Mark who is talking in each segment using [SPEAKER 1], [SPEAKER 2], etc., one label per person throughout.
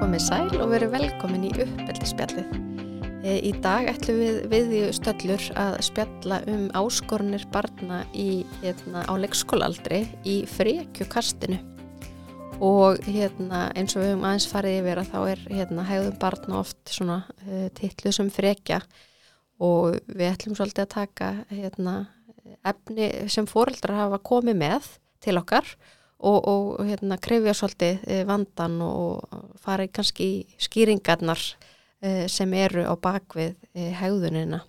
[SPEAKER 1] komið sæl og verið velkomin í uppeldisspjallið. E, Í dag ætlum við viðju stöllur að spjalla um áskorunir barna í, hérna, á leikskólaaldri í frekjukastinu. Og hérna, eins og við höfum aðeins farið yfir að þá er hérna, hægðum barna oft svona uh, titluð sem frekja og við ætlum svolítið að taka hérna, efni sem fóreldrar hafa komið með til okkar og, og hérna, krefja svolítið eh, vandan og og fara í kannski í skýringarnar eh, sem eru á bakvið eh, hegðunina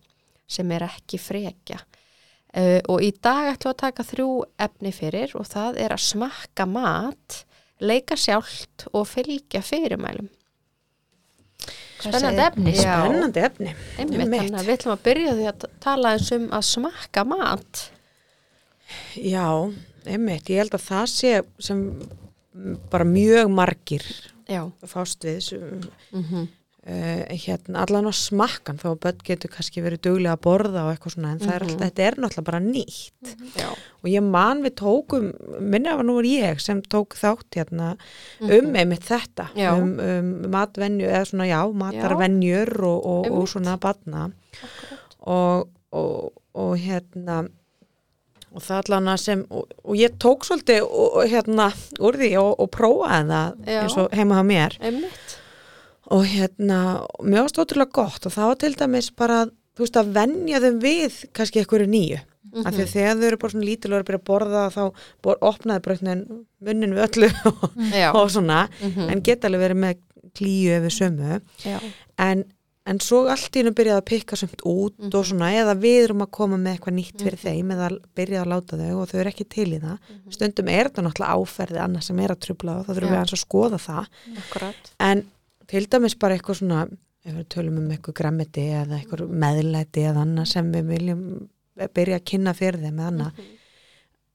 [SPEAKER 1] sem er ekki frekja. Eh, Og í dag ætlum við að taka þrjú efni fyrir og það er að smakka mat, leika sjálft og fylgja fyrirmælum. Hvað
[SPEAKER 2] Spennandi
[SPEAKER 1] segir-
[SPEAKER 2] efni.
[SPEAKER 1] Já.
[SPEAKER 3] Spennandi efni.
[SPEAKER 1] Einmitt,
[SPEAKER 3] Einmitt.
[SPEAKER 1] þannig að við ætlum að byrja því að tala eins um að smakka mat.
[SPEAKER 3] Já, einmitt. Ég held að það sé sem bara mjög margir
[SPEAKER 1] Já.
[SPEAKER 3] fást við sem,
[SPEAKER 1] Mm
[SPEAKER 3] uh, hérna, allan á smakkan þá að börn getur kannski verið duglega að borða og eitthvað svona en það er alltaf, þetta er náttúrulega bara nýtt
[SPEAKER 1] Já.
[SPEAKER 3] og ég man við tókum, minna var nú var ég sem tók þátt hérna um einmitt þetta
[SPEAKER 1] Já.
[SPEAKER 3] um, um matvenju eða svona já, matarvenjur og, og, og
[SPEAKER 1] Einmitt.
[SPEAKER 3] svona batna og, og, og hérna og það allan að sem og, og ég tók svolítið og, og, hérna úr því og, og prófaði það
[SPEAKER 1] Já.
[SPEAKER 3] eins og heima á mér
[SPEAKER 1] Einmitt.
[SPEAKER 3] og hérna, mjög stóttulega gott og það var til dæmis bara að, þú veist að venja þeim við kannski einhverju nýju af
[SPEAKER 1] Mhm.
[SPEAKER 3] því að þegar þau eru bara svona lítil og eru að byrja að borða þá bor, opnaði brötnin munnin við öllu og,
[SPEAKER 1] Já.
[SPEAKER 3] og svona
[SPEAKER 1] Mhm.
[SPEAKER 3] en geta alveg verið með klíu ef við sömu
[SPEAKER 1] Já.
[SPEAKER 3] en, en svo allt í hennu byrjaði að pikka sumt út og svona eða við erum að koma með eitthvað nýtt fyrir þeim eða byrjaði að láta þau og þau eru ekki til í það stundum er þetta náttúrulega áferði annars sem er að trubla og þá þurfum
[SPEAKER 1] Já.
[SPEAKER 3] við aðeins að skoða það
[SPEAKER 1] Akkurat.
[SPEAKER 3] en til dæmis bara eitthvað svona ef við tölum um eitthvað græmiti eða eitthvað meðlæti eða annað sem við viljum byrja að kynna fyrir þeim eða annað
[SPEAKER 1] Mhm.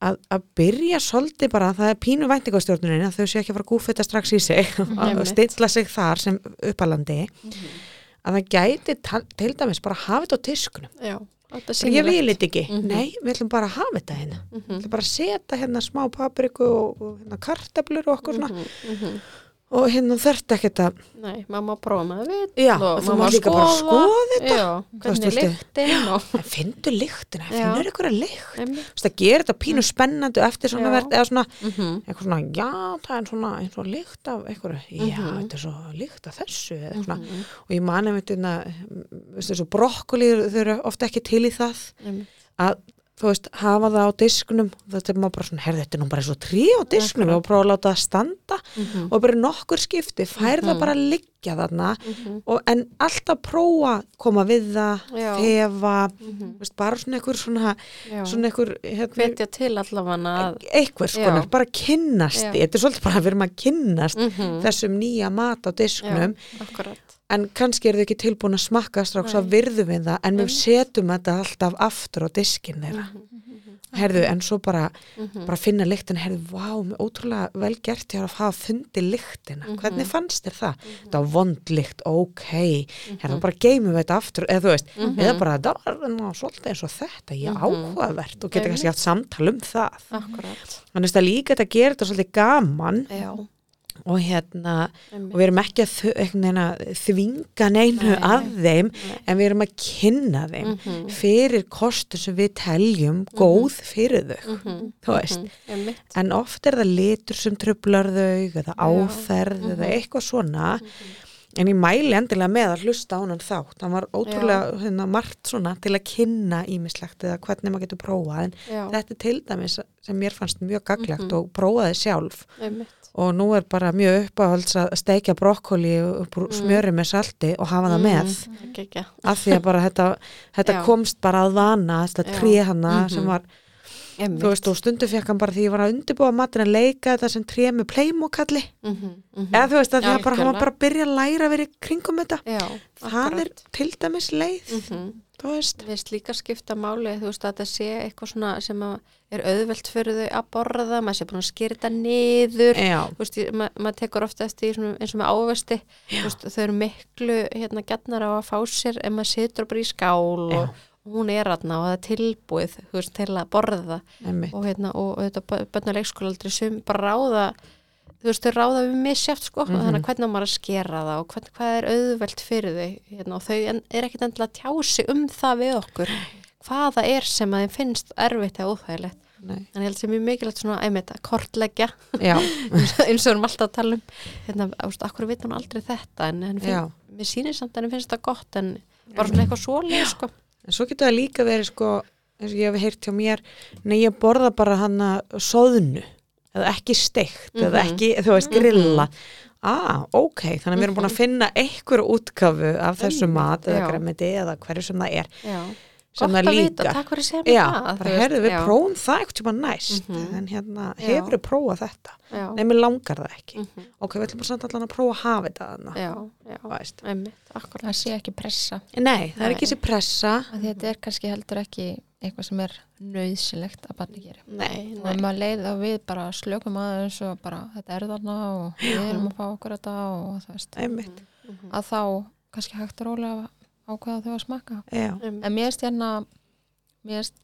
[SPEAKER 3] að, að byrja svolítið bara það er pínu væntingastjórnunin að þau sé ekki að fara að gúfita strax í sig og
[SPEAKER 1] Einmitt. Mhm.
[SPEAKER 3] stilla sig þar sem uppalandi að það gæti ta- til dæmis bara að hafa þetta á tiskunum
[SPEAKER 1] Já. Þetta er
[SPEAKER 3] ég
[SPEAKER 1] sýnilegt.
[SPEAKER 3] vil þetta ekki,
[SPEAKER 1] Mhm.
[SPEAKER 3] nei, við ætlum bara að hafa þetta hérna við
[SPEAKER 1] Mhm.
[SPEAKER 3] ætlum bara að setja hérna smá papriku og, og hérna kartablur og okkur svona
[SPEAKER 1] Mhm, mhm.
[SPEAKER 3] og hérna þarft ekkert að
[SPEAKER 1] Nei, maður má prófa með við
[SPEAKER 3] Já,
[SPEAKER 1] og
[SPEAKER 3] þú
[SPEAKER 1] maður má
[SPEAKER 3] mátt líka bara skoða þetta.
[SPEAKER 1] Já,
[SPEAKER 3] veist,
[SPEAKER 1] hvernig
[SPEAKER 3] viltu-
[SPEAKER 1] lyktin og
[SPEAKER 3] En finndu lyktina,
[SPEAKER 1] Já.
[SPEAKER 3] finnur ykkur að lykt.
[SPEAKER 1] Einmitt.
[SPEAKER 3] Þú veist, það gerir þetta pínu spennandi og eftir svona
[SPEAKER 1] Já.
[SPEAKER 3] verð, eða svona,
[SPEAKER 1] Mhm.
[SPEAKER 3] eitthvað svona, já, það er svona eins og lykt af einhverju, já,
[SPEAKER 1] Mhm.
[SPEAKER 3] þetta er svo lykt af þessu, eða svona. Og ég mani með þetta, veistu, svo brokkoli, þau eru ofta ekki til í það,
[SPEAKER 1] Einmitt.
[SPEAKER 3] að, þú veist, hafa það á disknum, þetta er maður bara svona, herði, þetta er nú bara svo trí á disknum og prófa að láta það standa
[SPEAKER 1] Mhm.
[SPEAKER 3] og bara nokkur skipti, fær það bara að liggja þarna og, en alltaf prófa, koma við það,
[SPEAKER 1] Mhm. Já. Mhm.
[SPEAKER 3] þefa, þú veist, bara svona einhver svona,
[SPEAKER 1] Já.
[SPEAKER 3] svona einhver hérna,
[SPEAKER 1] Hvetja til allavega að
[SPEAKER 3] einhver skonar,
[SPEAKER 1] Já.
[SPEAKER 3] bara kynnast
[SPEAKER 1] Já.
[SPEAKER 3] því, þetta er svolítið bara að við erum að kynnast
[SPEAKER 1] Mhm.
[SPEAKER 3] þessum nýja mat á disknum
[SPEAKER 1] Akkurat.
[SPEAKER 3] en kannski eru þau ekki tilbúin að smakka strax að virðum við það, en við
[SPEAKER 1] Mhm.
[SPEAKER 3] setjum þetta alltaf aftur á diskin þeirra
[SPEAKER 1] mhm.
[SPEAKER 3] herðu, en svo bara bara finna lyktina, herðu, vá, mér ótrúlega vel gert ég að hafa fundið lyktina
[SPEAKER 1] Mhm.
[SPEAKER 3] hvernig fannst þér það? það var vond lykt, ok
[SPEAKER 1] Mhm.
[SPEAKER 3] herðu, bara geymum við þetta aftur, eða þú veist eða bara, það var ná, svolítið eins og þetta
[SPEAKER 1] Mhm.
[SPEAKER 3] ég áhugavert og geta kannski haft samtal um það
[SPEAKER 1] Akkurat.
[SPEAKER 3] þannig að það er líka þetta gerir þetta svolítið gaman
[SPEAKER 1] Já.
[SPEAKER 3] og hérna
[SPEAKER 1] Einmitt.
[SPEAKER 3] og við erum ekki að þ- einhvern veginn að þvinga neinu að þeim en við erum að kynna þeim
[SPEAKER 1] Mhm.
[SPEAKER 3] fyrir kostu sem við teljum góð fyrir þau
[SPEAKER 1] Mhm.
[SPEAKER 3] þú veist
[SPEAKER 1] Einmitt.
[SPEAKER 3] en oft er það litur sem trublar þau eða áferð eða eitthvað svona en ég mæli endilega með að hlusta á hann þátt hann var ótrúlega hérna, margt svona til að kynna ímislegt eða hvernig maður getur prófað en
[SPEAKER 1] Já.
[SPEAKER 3] þetta er til dæmis sem mér fannst mjög gaglegt og prófaði sjálf
[SPEAKER 1] Einmitt.
[SPEAKER 3] og nú er bara mjög uppáhalds að steikja brokkoli og brú-
[SPEAKER 1] Mm.
[SPEAKER 3] smjöri með salti og hafa það með
[SPEAKER 1] Ekki ekki.
[SPEAKER 3] af því að bara þetta, þetta
[SPEAKER 1] Mm. Já.
[SPEAKER 3] komst bara að vana þetta
[SPEAKER 1] Já. Mhm.
[SPEAKER 3] tré hana sem var Þú
[SPEAKER 1] Einmitt.
[SPEAKER 3] veist, og stundu fekk hann bara því ég var að undirbúa matin að leika þetta sem tréð með pleimukalli
[SPEAKER 1] Mhm, mhm.
[SPEAKER 3] eða þú veist að því að bara, hann
[SPEAKER 1] Algjörlega.
[SPEAKER 3] var bara að byrja að læra að vera í kringum þetta
[SPEAKER 1] Já.
[SPEAKER 3] það er
[SPEAKER 1] akkurat.
[SPEAKER 3] til dæmis leið
[SPEAKER 1] Mhm.
[SPEAKER 3] þú veist,
[SPEAKER 1] Mér finnst líka skipta máli þú veist að þetta sé eitthvað svona sem að er auðvelt fyrir þau að borða maður sé búin að skýra þetta niður
[SPEAKER 3] já,
[SPEAKER 1] þú veist, ég- ma maður tekur ofta eftir í svona, eins og með ávesti þú veist, þau eru miklu hérna gætnar á að fá sér en maður situr bara í skál
[SPEAKER 3] Já.
[SPEAKER 1] og hún er aðna og það er tilbúið þú veist, til að borða
[SPEAKER 3] emmi
[SPEAKER 1] og hérna, og þetta bönna leikskóla aldrei sem bara ráða þú veist, þau ráða við misjátt sko,
[SPEAKER 3] Mhm.
[SPEAKER 1] þannig að hvernig á maður að skera það og hvern, hvað er auðvelt fyrir þau hérna, og þau en, er ekkit endilega að tjási um það við okkur, hvaða er sem að þeim finnst erfitt eða óþægilegt
[SPEAKER 3] Nei.
[SPEAKER 1] en ég held sem mjög mikilvægt svona einmitt að kortleggja
[SPEAKER 3] Já,
[SPEAKER 1] eins og við erum alltaf að tala um hérna, ást, akkur veit hún aldrei þetta en, en finn,
[SPEAKER 3] já.
[SPEAKER 1] mér sýnir samt en henni finnst það gott en bara svona eitthvað svolega sko
[SPEAKER 3] En svo getur það líka verið sko, eins og ég hef heyrt hjá mér, nei ég borða bara hana soðnu, eða ekki steikt, eða
[SPEAKER 1] Mhm. Mhm.
[SPEAKER 3] ekki, þú veist, grilla. Ah, ok, þannig að við erum búin að finna einhverja útgafu af þessu
[SPEAKER 1] Einmitt,
[SPEAKER 3] mat eða
[SPEAKER 1] já.
[SPEAKER 3] græmiti eða hverju sem það er.
[SPEAKER 1] já.
[SPEAKER 3] Sem það
[SPEAKER 1] gott að
[SPEAKER 3] líka.
[SPEAKER 1] vita, takk fyrir sem
[SPEAKER 3] Já,
[SPEAKER 1] það þú
[SPEAKER 3] bara
[SPEAKER 1] veist,
[SPEAKER 3] herðu við
[SPEAKER 1] já,
[SPEAKER 3] prófum það eitthvað tíma næst,
[SPEAKER 1] Mhm.
[SPEAKER 3] en hérna,
[SPEAKER 1] Já.
[SPEAKER 3] hefur við prófað þetta?
[SPEAKER 1] já,
[SPEAKER 3] Nei, mér langar það ekki.
[SPEAKER 1] Mhm.
[SPEAKER 3] Ok, við ætlum bara samt allan að prófa að hafa þetta þarna,
[SPEAKER 1] já, já,
[SPEAKER 3] veist.
[SPEAKER 1] einmitt, akkurat
[SPEAKER 2] það sé ekki pressa
[SPEAKER 3] Nei, það er
[SPEAKER 1] Nei.
[SPEAKER 3] ekki þessi pressa.
[SPEAKER 2] að þetta er kannski heldur ekki eitthvað sem er nöðsilegt að barni gera
[SPEAKER 1] nei,
[SPEAKER 2] og
[SPEAKER 1] nei,
[SPEAKER 2] ef maður leið að við bara slökum aðeins og bara þetta er þarna og við erum að fá okkur þetta og það veist
[SPEAKER 1] Mhm.
[SPEAKER 3] Einmitt,
[SPEAKER 2] að þá kannski hægt að rólega ákvaða þau að smakka
[SPEAKER 3] já,
[SPEAKER 1] einmitt,
[SPEAKER 2] en mér erst hérna mér erst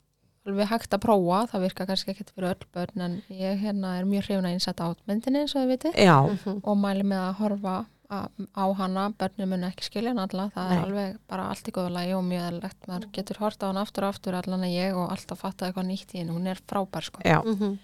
[SPEAKER 2] alveg hægt að prófa það virka kannski ekkert fyrir öll börn en ég hérna er mjög hrifna einsætt átmyndinni eins og þið vitið
[SPEAKER 3] já,
[SPEAKER 1] mhm,
[SPEAKER 2] og mæli með að horfa a- á hana, börnum mun ekki skilja hann alla það
[SPEAKER 3] Nei. Mm.
[SPEAKER 2] er alveg bara allt í góðu lagi og mjög eðlilegt, maður getur horta á hann aftur og aftur allan að ég og alltaf fatta eitthvað nýtt í henni hún er frábær sko,
[SPEAKER 3] já,
[SPEAKER 1] mhm,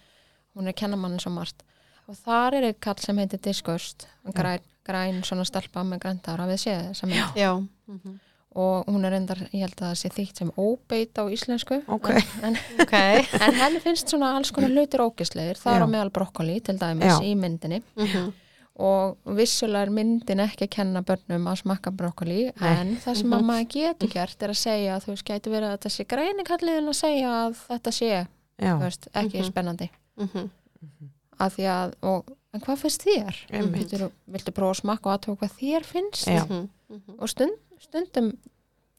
[SPEAKER 2] hún er kennamann svo margt og þar er einn kall sem heitir Disgust græn, græn svona stelpa með græntára við séð sem er
[SPEAKER 1] já, mhm,
[SPEAKER 2] og hún er reyndar, ég held að það sé þýtt sem óbeit á íslensku
[SPEAKER 3] Ok.
[SPEAKER 2] en, en,
[SPEAKER 1] ok,
[SPEAKER 2] en henni finnst svona alls konar hlutir ógisleir, það er á
[SPEAKER 3] Já.
[SPEAKER 2] meðal brokkoli til dæmis
[SPEAKER 3] Já.
[SPEAKER 2] í myndinni
[SPEAKER 1] mhm,
[SPEAKER 2] og vissulega er myndin ekki að kenna börnum að smakka brokkoli
[SPEAKER 3] Nei. Mhm.
[SPEAKER 2] en það sem að maður getur gert er að segja að þú veist, gæti verið að þetta sé grænikalliðin að segja að þetta sé, þú
[SPEAKER 3] já,
[SPEAKER 2] veist, ekki
[SPEAKER 1] Mhm.
[SPEAKER 2] spennandi
[SPEAKER 1] mhm,
[SPEAKER 2] að því að, og, en hvað finnst þér?
[SPEAKER 3] einmitt,
[SPEAKER 2] Viltu, viltu prófa að smakka og aðtöku hvað þér finnst?
[SPEAKER 3] Já.
[SPEAKER 1] mhm, mhm,
[SPEAKER 2] og stund, stundum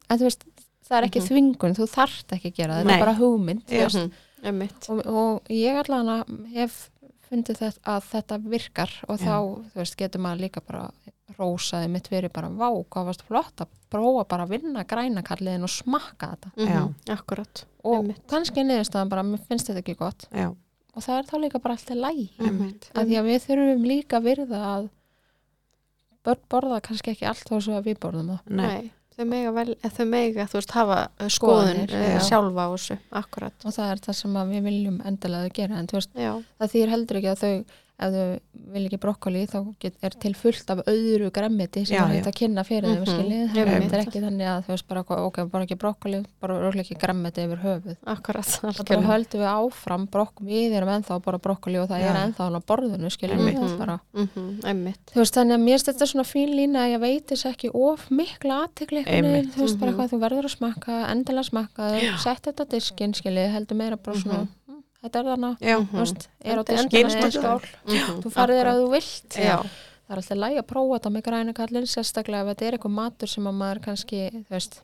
[SPEAKER 2] en þú veist, það er ekki
[SPEAKER 1] Mhm.
[SPEAKER 2] þvingun þú þarft ekki að gera það, það
[SPEAKER 3] Nei.
[SPEAKER 2] er bara hugmynd þú
[SPEAKER 3] Já.
[SPEAKER 2] veist.
[SPEAKER 1] mhm, einmitt,
[SPEAKER 2] og, og ég allan að hef fundið þetta, að þetta virkar og þá, þú veist, getur maður líka bara rósaði mitt verið bara vá, hvað varst flott að prófa bara að vinna grænakalliðin og smakka þetta
[SPEAKER 1] mhm, akkurat,
[SPEAKER 2] og
[SPEAKER 1] Einmitt.
[SPEAKER 2] kannski niðurstaðan bara, mér finnst þetta ekki gott
[SPEAKER 3] já,
[SPEAKER 2] og það er þá líka bara allt í lægi
[SPEAKER 1] Mhm.
[SPEAKER 3] einmitt,
[SPEAKER 2] að því að við þurfum líka að virða að börn borða kannski ekki allt þó svo að við borðum það
[SPEAKER 3] nei.
[SPEAKER 1] nei, þau mega vel, eh, þau mega, þú veist, hafa eh, skoðun
[SPEAKER 2] Skoðanir,
[SPEAKER 1] eh,
[SPEAKER 3] já.
[SPEAKER 1] sjálfa á þessu, akkurat,
[SPEAKER 2] og það er það sem að við viljum endilega að þau gera en þú veist,
[SPEAKER 1] já,
[SPEAKER 2] það þýr heldur ekki að þau ef þau vil ekki brokkoli þá get, er til fullt af öðru gremmiti sem
[SPEAKER 3] Já,
[SPEAKER 2] er hægt
[SPEAKER 3] já.
[SPEAKER 2] að kynna fyrir þeim
[SPEAKER 1] Mhm,
[SPEAKER 2] skiljið þannig að
[SPEAKER 1] einmitt.
[SPEAKER 2] þetta er ekki þannig að þú veist bara eitthvað, ok, bara ekki brokkoli, bara örugglega ekki gremmiti yfir höfuð
[SPEAKER 1] akkurat,
[SPEAKER 2] og þá
[SPEAKER 1] algjörlega,
[SPEAKER 2] höldum við áfram brokk, við erum ennþá að borða brokkoli og það
[SPEAKER 3] Já.
[SPEAKER 2] er ennþá hann á borðinu skiljið
[SPEAKER 1] Einmitt.
[SPEAKER 2] mm -hmm.
[SPEAKER 1] mhm, einmitt,
[SPEAKER 2] þú veist þannig að mér stættar svona fín lína að ég veit þess ekki of mikla aðtekli
[SPEAKER 3] Einmitt.
[SPEAKER 2] þú veist bara
[SPEAKER 1] Mhm.
[SPEAKER 2] hvað þú verður að smakka endilega smakka, sett þetta á diskinn skiljið heldur meira bara svona
[SPEAKER 1] Mhm.
[SPEAKER 2] mm, þetta er þarna
[SPEAKER 3] Já,
[SPEAKER 2] þú veist, er á
[SPEAKER 1] Enda-
[SPEAKER 2] diskinn
[SPEAKER 3] enda-
[SPEAKER 2] er skál
[SPEAKER 1] Mhm,
[SPEAKER 2] þú farið þér
[SPEAKER 1] akkurat.
[SPEAKER 2] að þú vilt
[SPEAKER 1] já,
[SPEAKER 2] það er alltaf læg að prófa þetta með græna kallin sérstaklega ef þetta er eitthvað matur sem að maður kannski, þú veist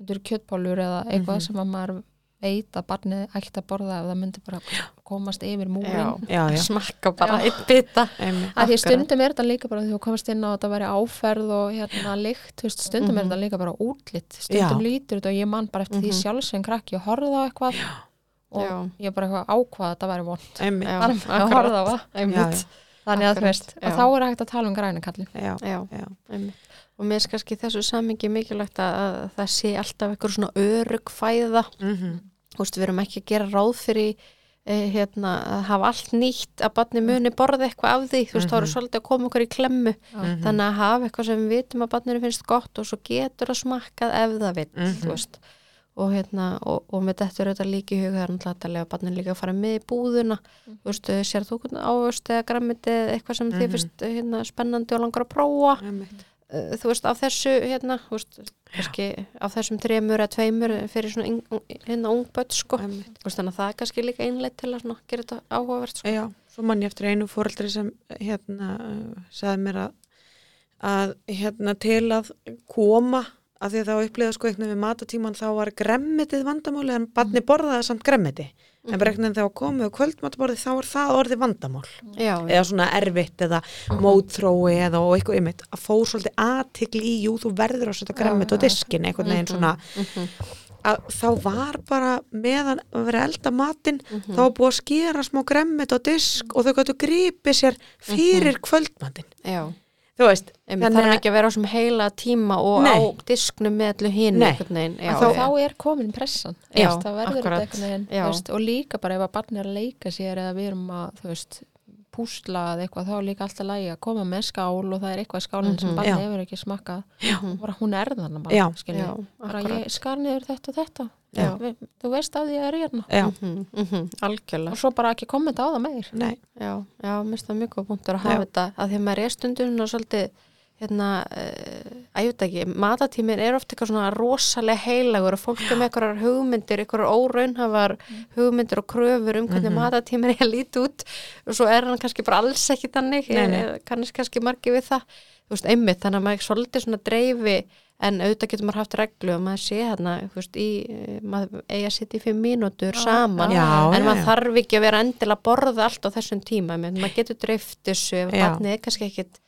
[SPEAKER 2] þetta eru kjötpólur eða eitthvað
[SPEAKER 3] Mhm.
[SPEAKER 2] sem að maður veit að barnið ætti að borða ef það myndi bara komast yfir
[SPEAKER 1] já,
[SPEAKER 2] múrin
[SPEAKER 3] já, já,
[SPEAKER 1] smakka bara einn bita,
[SPEAKER 3] einmitt,
[SPEAKER 2] að því
[SPEAKER 1] Akkurat.
[SPEAKER 2] stundum er þetta líka bara þegar þú komast inn á að þetta væri áferð og hérna lykt, þú veist, stundum er
[SPEAKER 1] Mhm.
[SPEAKER 2] þetta líka bara útlitt, stundum lítur þetta og ég man bara eftir því
[SPEAKER 1] Mhm.
[SPEAKER 2] sjálfsvein krakki og horfði á eitthvað og
[SPEAKER 1] já,
[SPEAKER 2] ég bara eitthvað ákvað að þetta væri vond
[SPEAKER 3] einmitt,
[SPEAKER 1] já,
[SPEAKER 2] bara með að horfa á það
[SPEAKER 1] einmitt,
[SPEAKER 2] þannig að þú
[SPEAKER 1] Akkurat,
[SPEAKER 2] veist,
[SPEAKER 1] já.
[SPEAKER 2] að þá er hægt að tala um græna kallin
[SPEAKER 3] já,
[SPEAKER 1] já,
[SPEAKER 3] já,
[SPEAKER 1] einmitt. Og mér er kannski í þessu samingi mikilvægt að, að það sé alltaf eitthvað svona örugfæða
[SPEAKER 3] mhm,
[SPEAKER 1] Þú veist, við erum ekki að gera ráð fyrir eh, hérna, að hafa allt nýtt að barni muni borða eitthvað af því þú veist, þá eru
[SPEAKER 3] Mm. Mhm.
[SPEAKER 1] svolítið að koma okkur í klemmu
[SPEAKER 3] mhm,
[SPEAKER 1] þannig að hafa eitthvað sem við vitum að barninu finnst gott og svo getur að smakkað ef það vill,
[SPEAKER 3] Mhm.
[SPEAKER 1] þú veist og, hérna, og, og með þetta er auðvitað líka í huga það er náttúrulega hægt að lega barninu líka að fara með í búðuna þú veist, eh, sér þú ávöst eða grammiti eða eitthvað sem þið
[SPEAKER 3] Mhm.
[SPEAKER 1] finnst eh, hérna, spennandi og langar að prófa
[SPEAKER 3] einmitt,
[SPEAKER 1] eh, þú veist, af þessu hérna, þú veist, kannski af þessum þremur eða tveimur fyrir svona yng- hérna ungböld, sko
[SPEAKER 3] einmitt,
[SPEAKER 1] Þú veist, þannig að það er kannski líka einleitt til að svona, gera þetta áhugavert sko.
[SPEAKER 3] já, svo mann ég eftir einu fóreldri sem hérna uh, sagði mér að, að hérna til að koma að því að þá upplýða sko einhvern veginn við matatíman þá var gremmitið vandamáli en barni borðaði samt gremmiti
[SPEAKER 1] Mhm.
[SPEAKER 3] en bara einhvern veginn þegar komið á kvöldmatborði þá var það orðið vandamál
[SPEAKER 1] já, já,
[SPEAKER 3] eða svona erfitt eða mótrói eða og eitthvað ymmit að fór svolítið aðtikli í jú þú verður að setja
[SPEAKER 2] Já,
[SPEAKER 3] græmmet á
[SPEAKER 2] já.
[SPEAKER 3] diskin einhvern veginn svona að þá var bara meðan að vera að elda matinn
[SPEAKER 1] Mhm.
[SPEAKER 3] þá var búið að skera smá gremmit á disk og þau gætu gripið sér fyrir kvöldmatinn
[SPEAKER 1] já
[SPEAKER 3] þú veist,
[SPEAKER 1] Einmitt,
[SPEAKER 3] Þannig
[SPEAKER 1] Þannig
[SPEAKER 3] að-
[SPEAKER 1] þarf ekki að vera á sem heila tíma og
[SPEAKER 3] Nei.
[SPEAKER 1] á disknum með allu hinn
[SPEAKER 3] Nei.
[SPEAKER 1] einhvern veginn. Já,
[SPEAKER 3] Að
[SPEAKER 2] þá,
[SPEAKER 1] já.
[SPEAKER 2] þá er komin pressan
[SPEAKER 1] Já,
[SPEAKER 2] veist, það verður
[SPEAKER 1] akkurat.
[SPEAKER 2] þetta einhvern veginn
[SPEAKER 1] Já.
[SPEAKER 2] þú veist, og líka bara ef að barn er að leika sér eða við erum að þú veist, púsla eða eitthvað þá er líka alltaf lægi að koma með skál og það er eitthvað í skálinn
[SPEAKER 1] Mhm.
[SPEAKER 2] sem
[SPEAKER 3] Já.
[SPEAKER 2] barn hefur ekki smakkað
[SPEAKER 3] Já.
[SPEAKER 2] og bara hún er þannig bara,
[SPEAKER 3] Já.
[SPEAKER 2] skilur.
[SPEAKER 1] Já,
[SPEAKER 2] bara
[SPEAKER 1] akkúrat.
[SPEAKER 2] ég skar niður þetta og þetta
[SPEAKER 3] Já.
[SPEAKER 2] Við, þú veist að ég er hérna
[SPEAKER 3] já,
[SPEAKER 1] Mhm, mhm, algjörlega
[SPEAKER 2] og svo bara ekki kommenta á það meir
[SPEAKER 3] nei
[SPEAKER 1] já, já, mér finnst það mjög góð punktur að hafa
[SPEAKER 3] Já.
[SPEAKER 1] þetta að því að maður er stundun og svolítið hérna, uh, að ég veit ekki matatímin er ofta eitthvað svona rosalega heilagur og fólk er með einhverjar hugmyndir einhverjar óraunhafar
[SPEAKER 3] Mm.
[SPEAKER 1] hugmyndir og kröfur um
[SPEAKER 3] Mhm.
[SPEAKER 1] hvernig mm matatímin er að líti út og svo er hann kannski bara alls ekki þannig,
[SPEAKER 3] Nei, nei.
[SPEAKER 1] eh, kannski kannski margi við það, þú veist, einmitt þannig að maður svolítið svona dreifi en auðvitað getur maður haft reglu og maður sé hérna, þú veist, í, eh, maður eiga að setja í fimm mínútur saman
[SPEAKER 3] já, já,
[SPEAKER 1] en maður
[SPEAKER 3] já.
[SPEAKER 1] þarf ekki að vera endilega að borða allt á þessum tíma, menn maður getur dreift þessu ef
[SPEAKER 3] Já.
[SPEAKER 1] barnið er kannski ekkit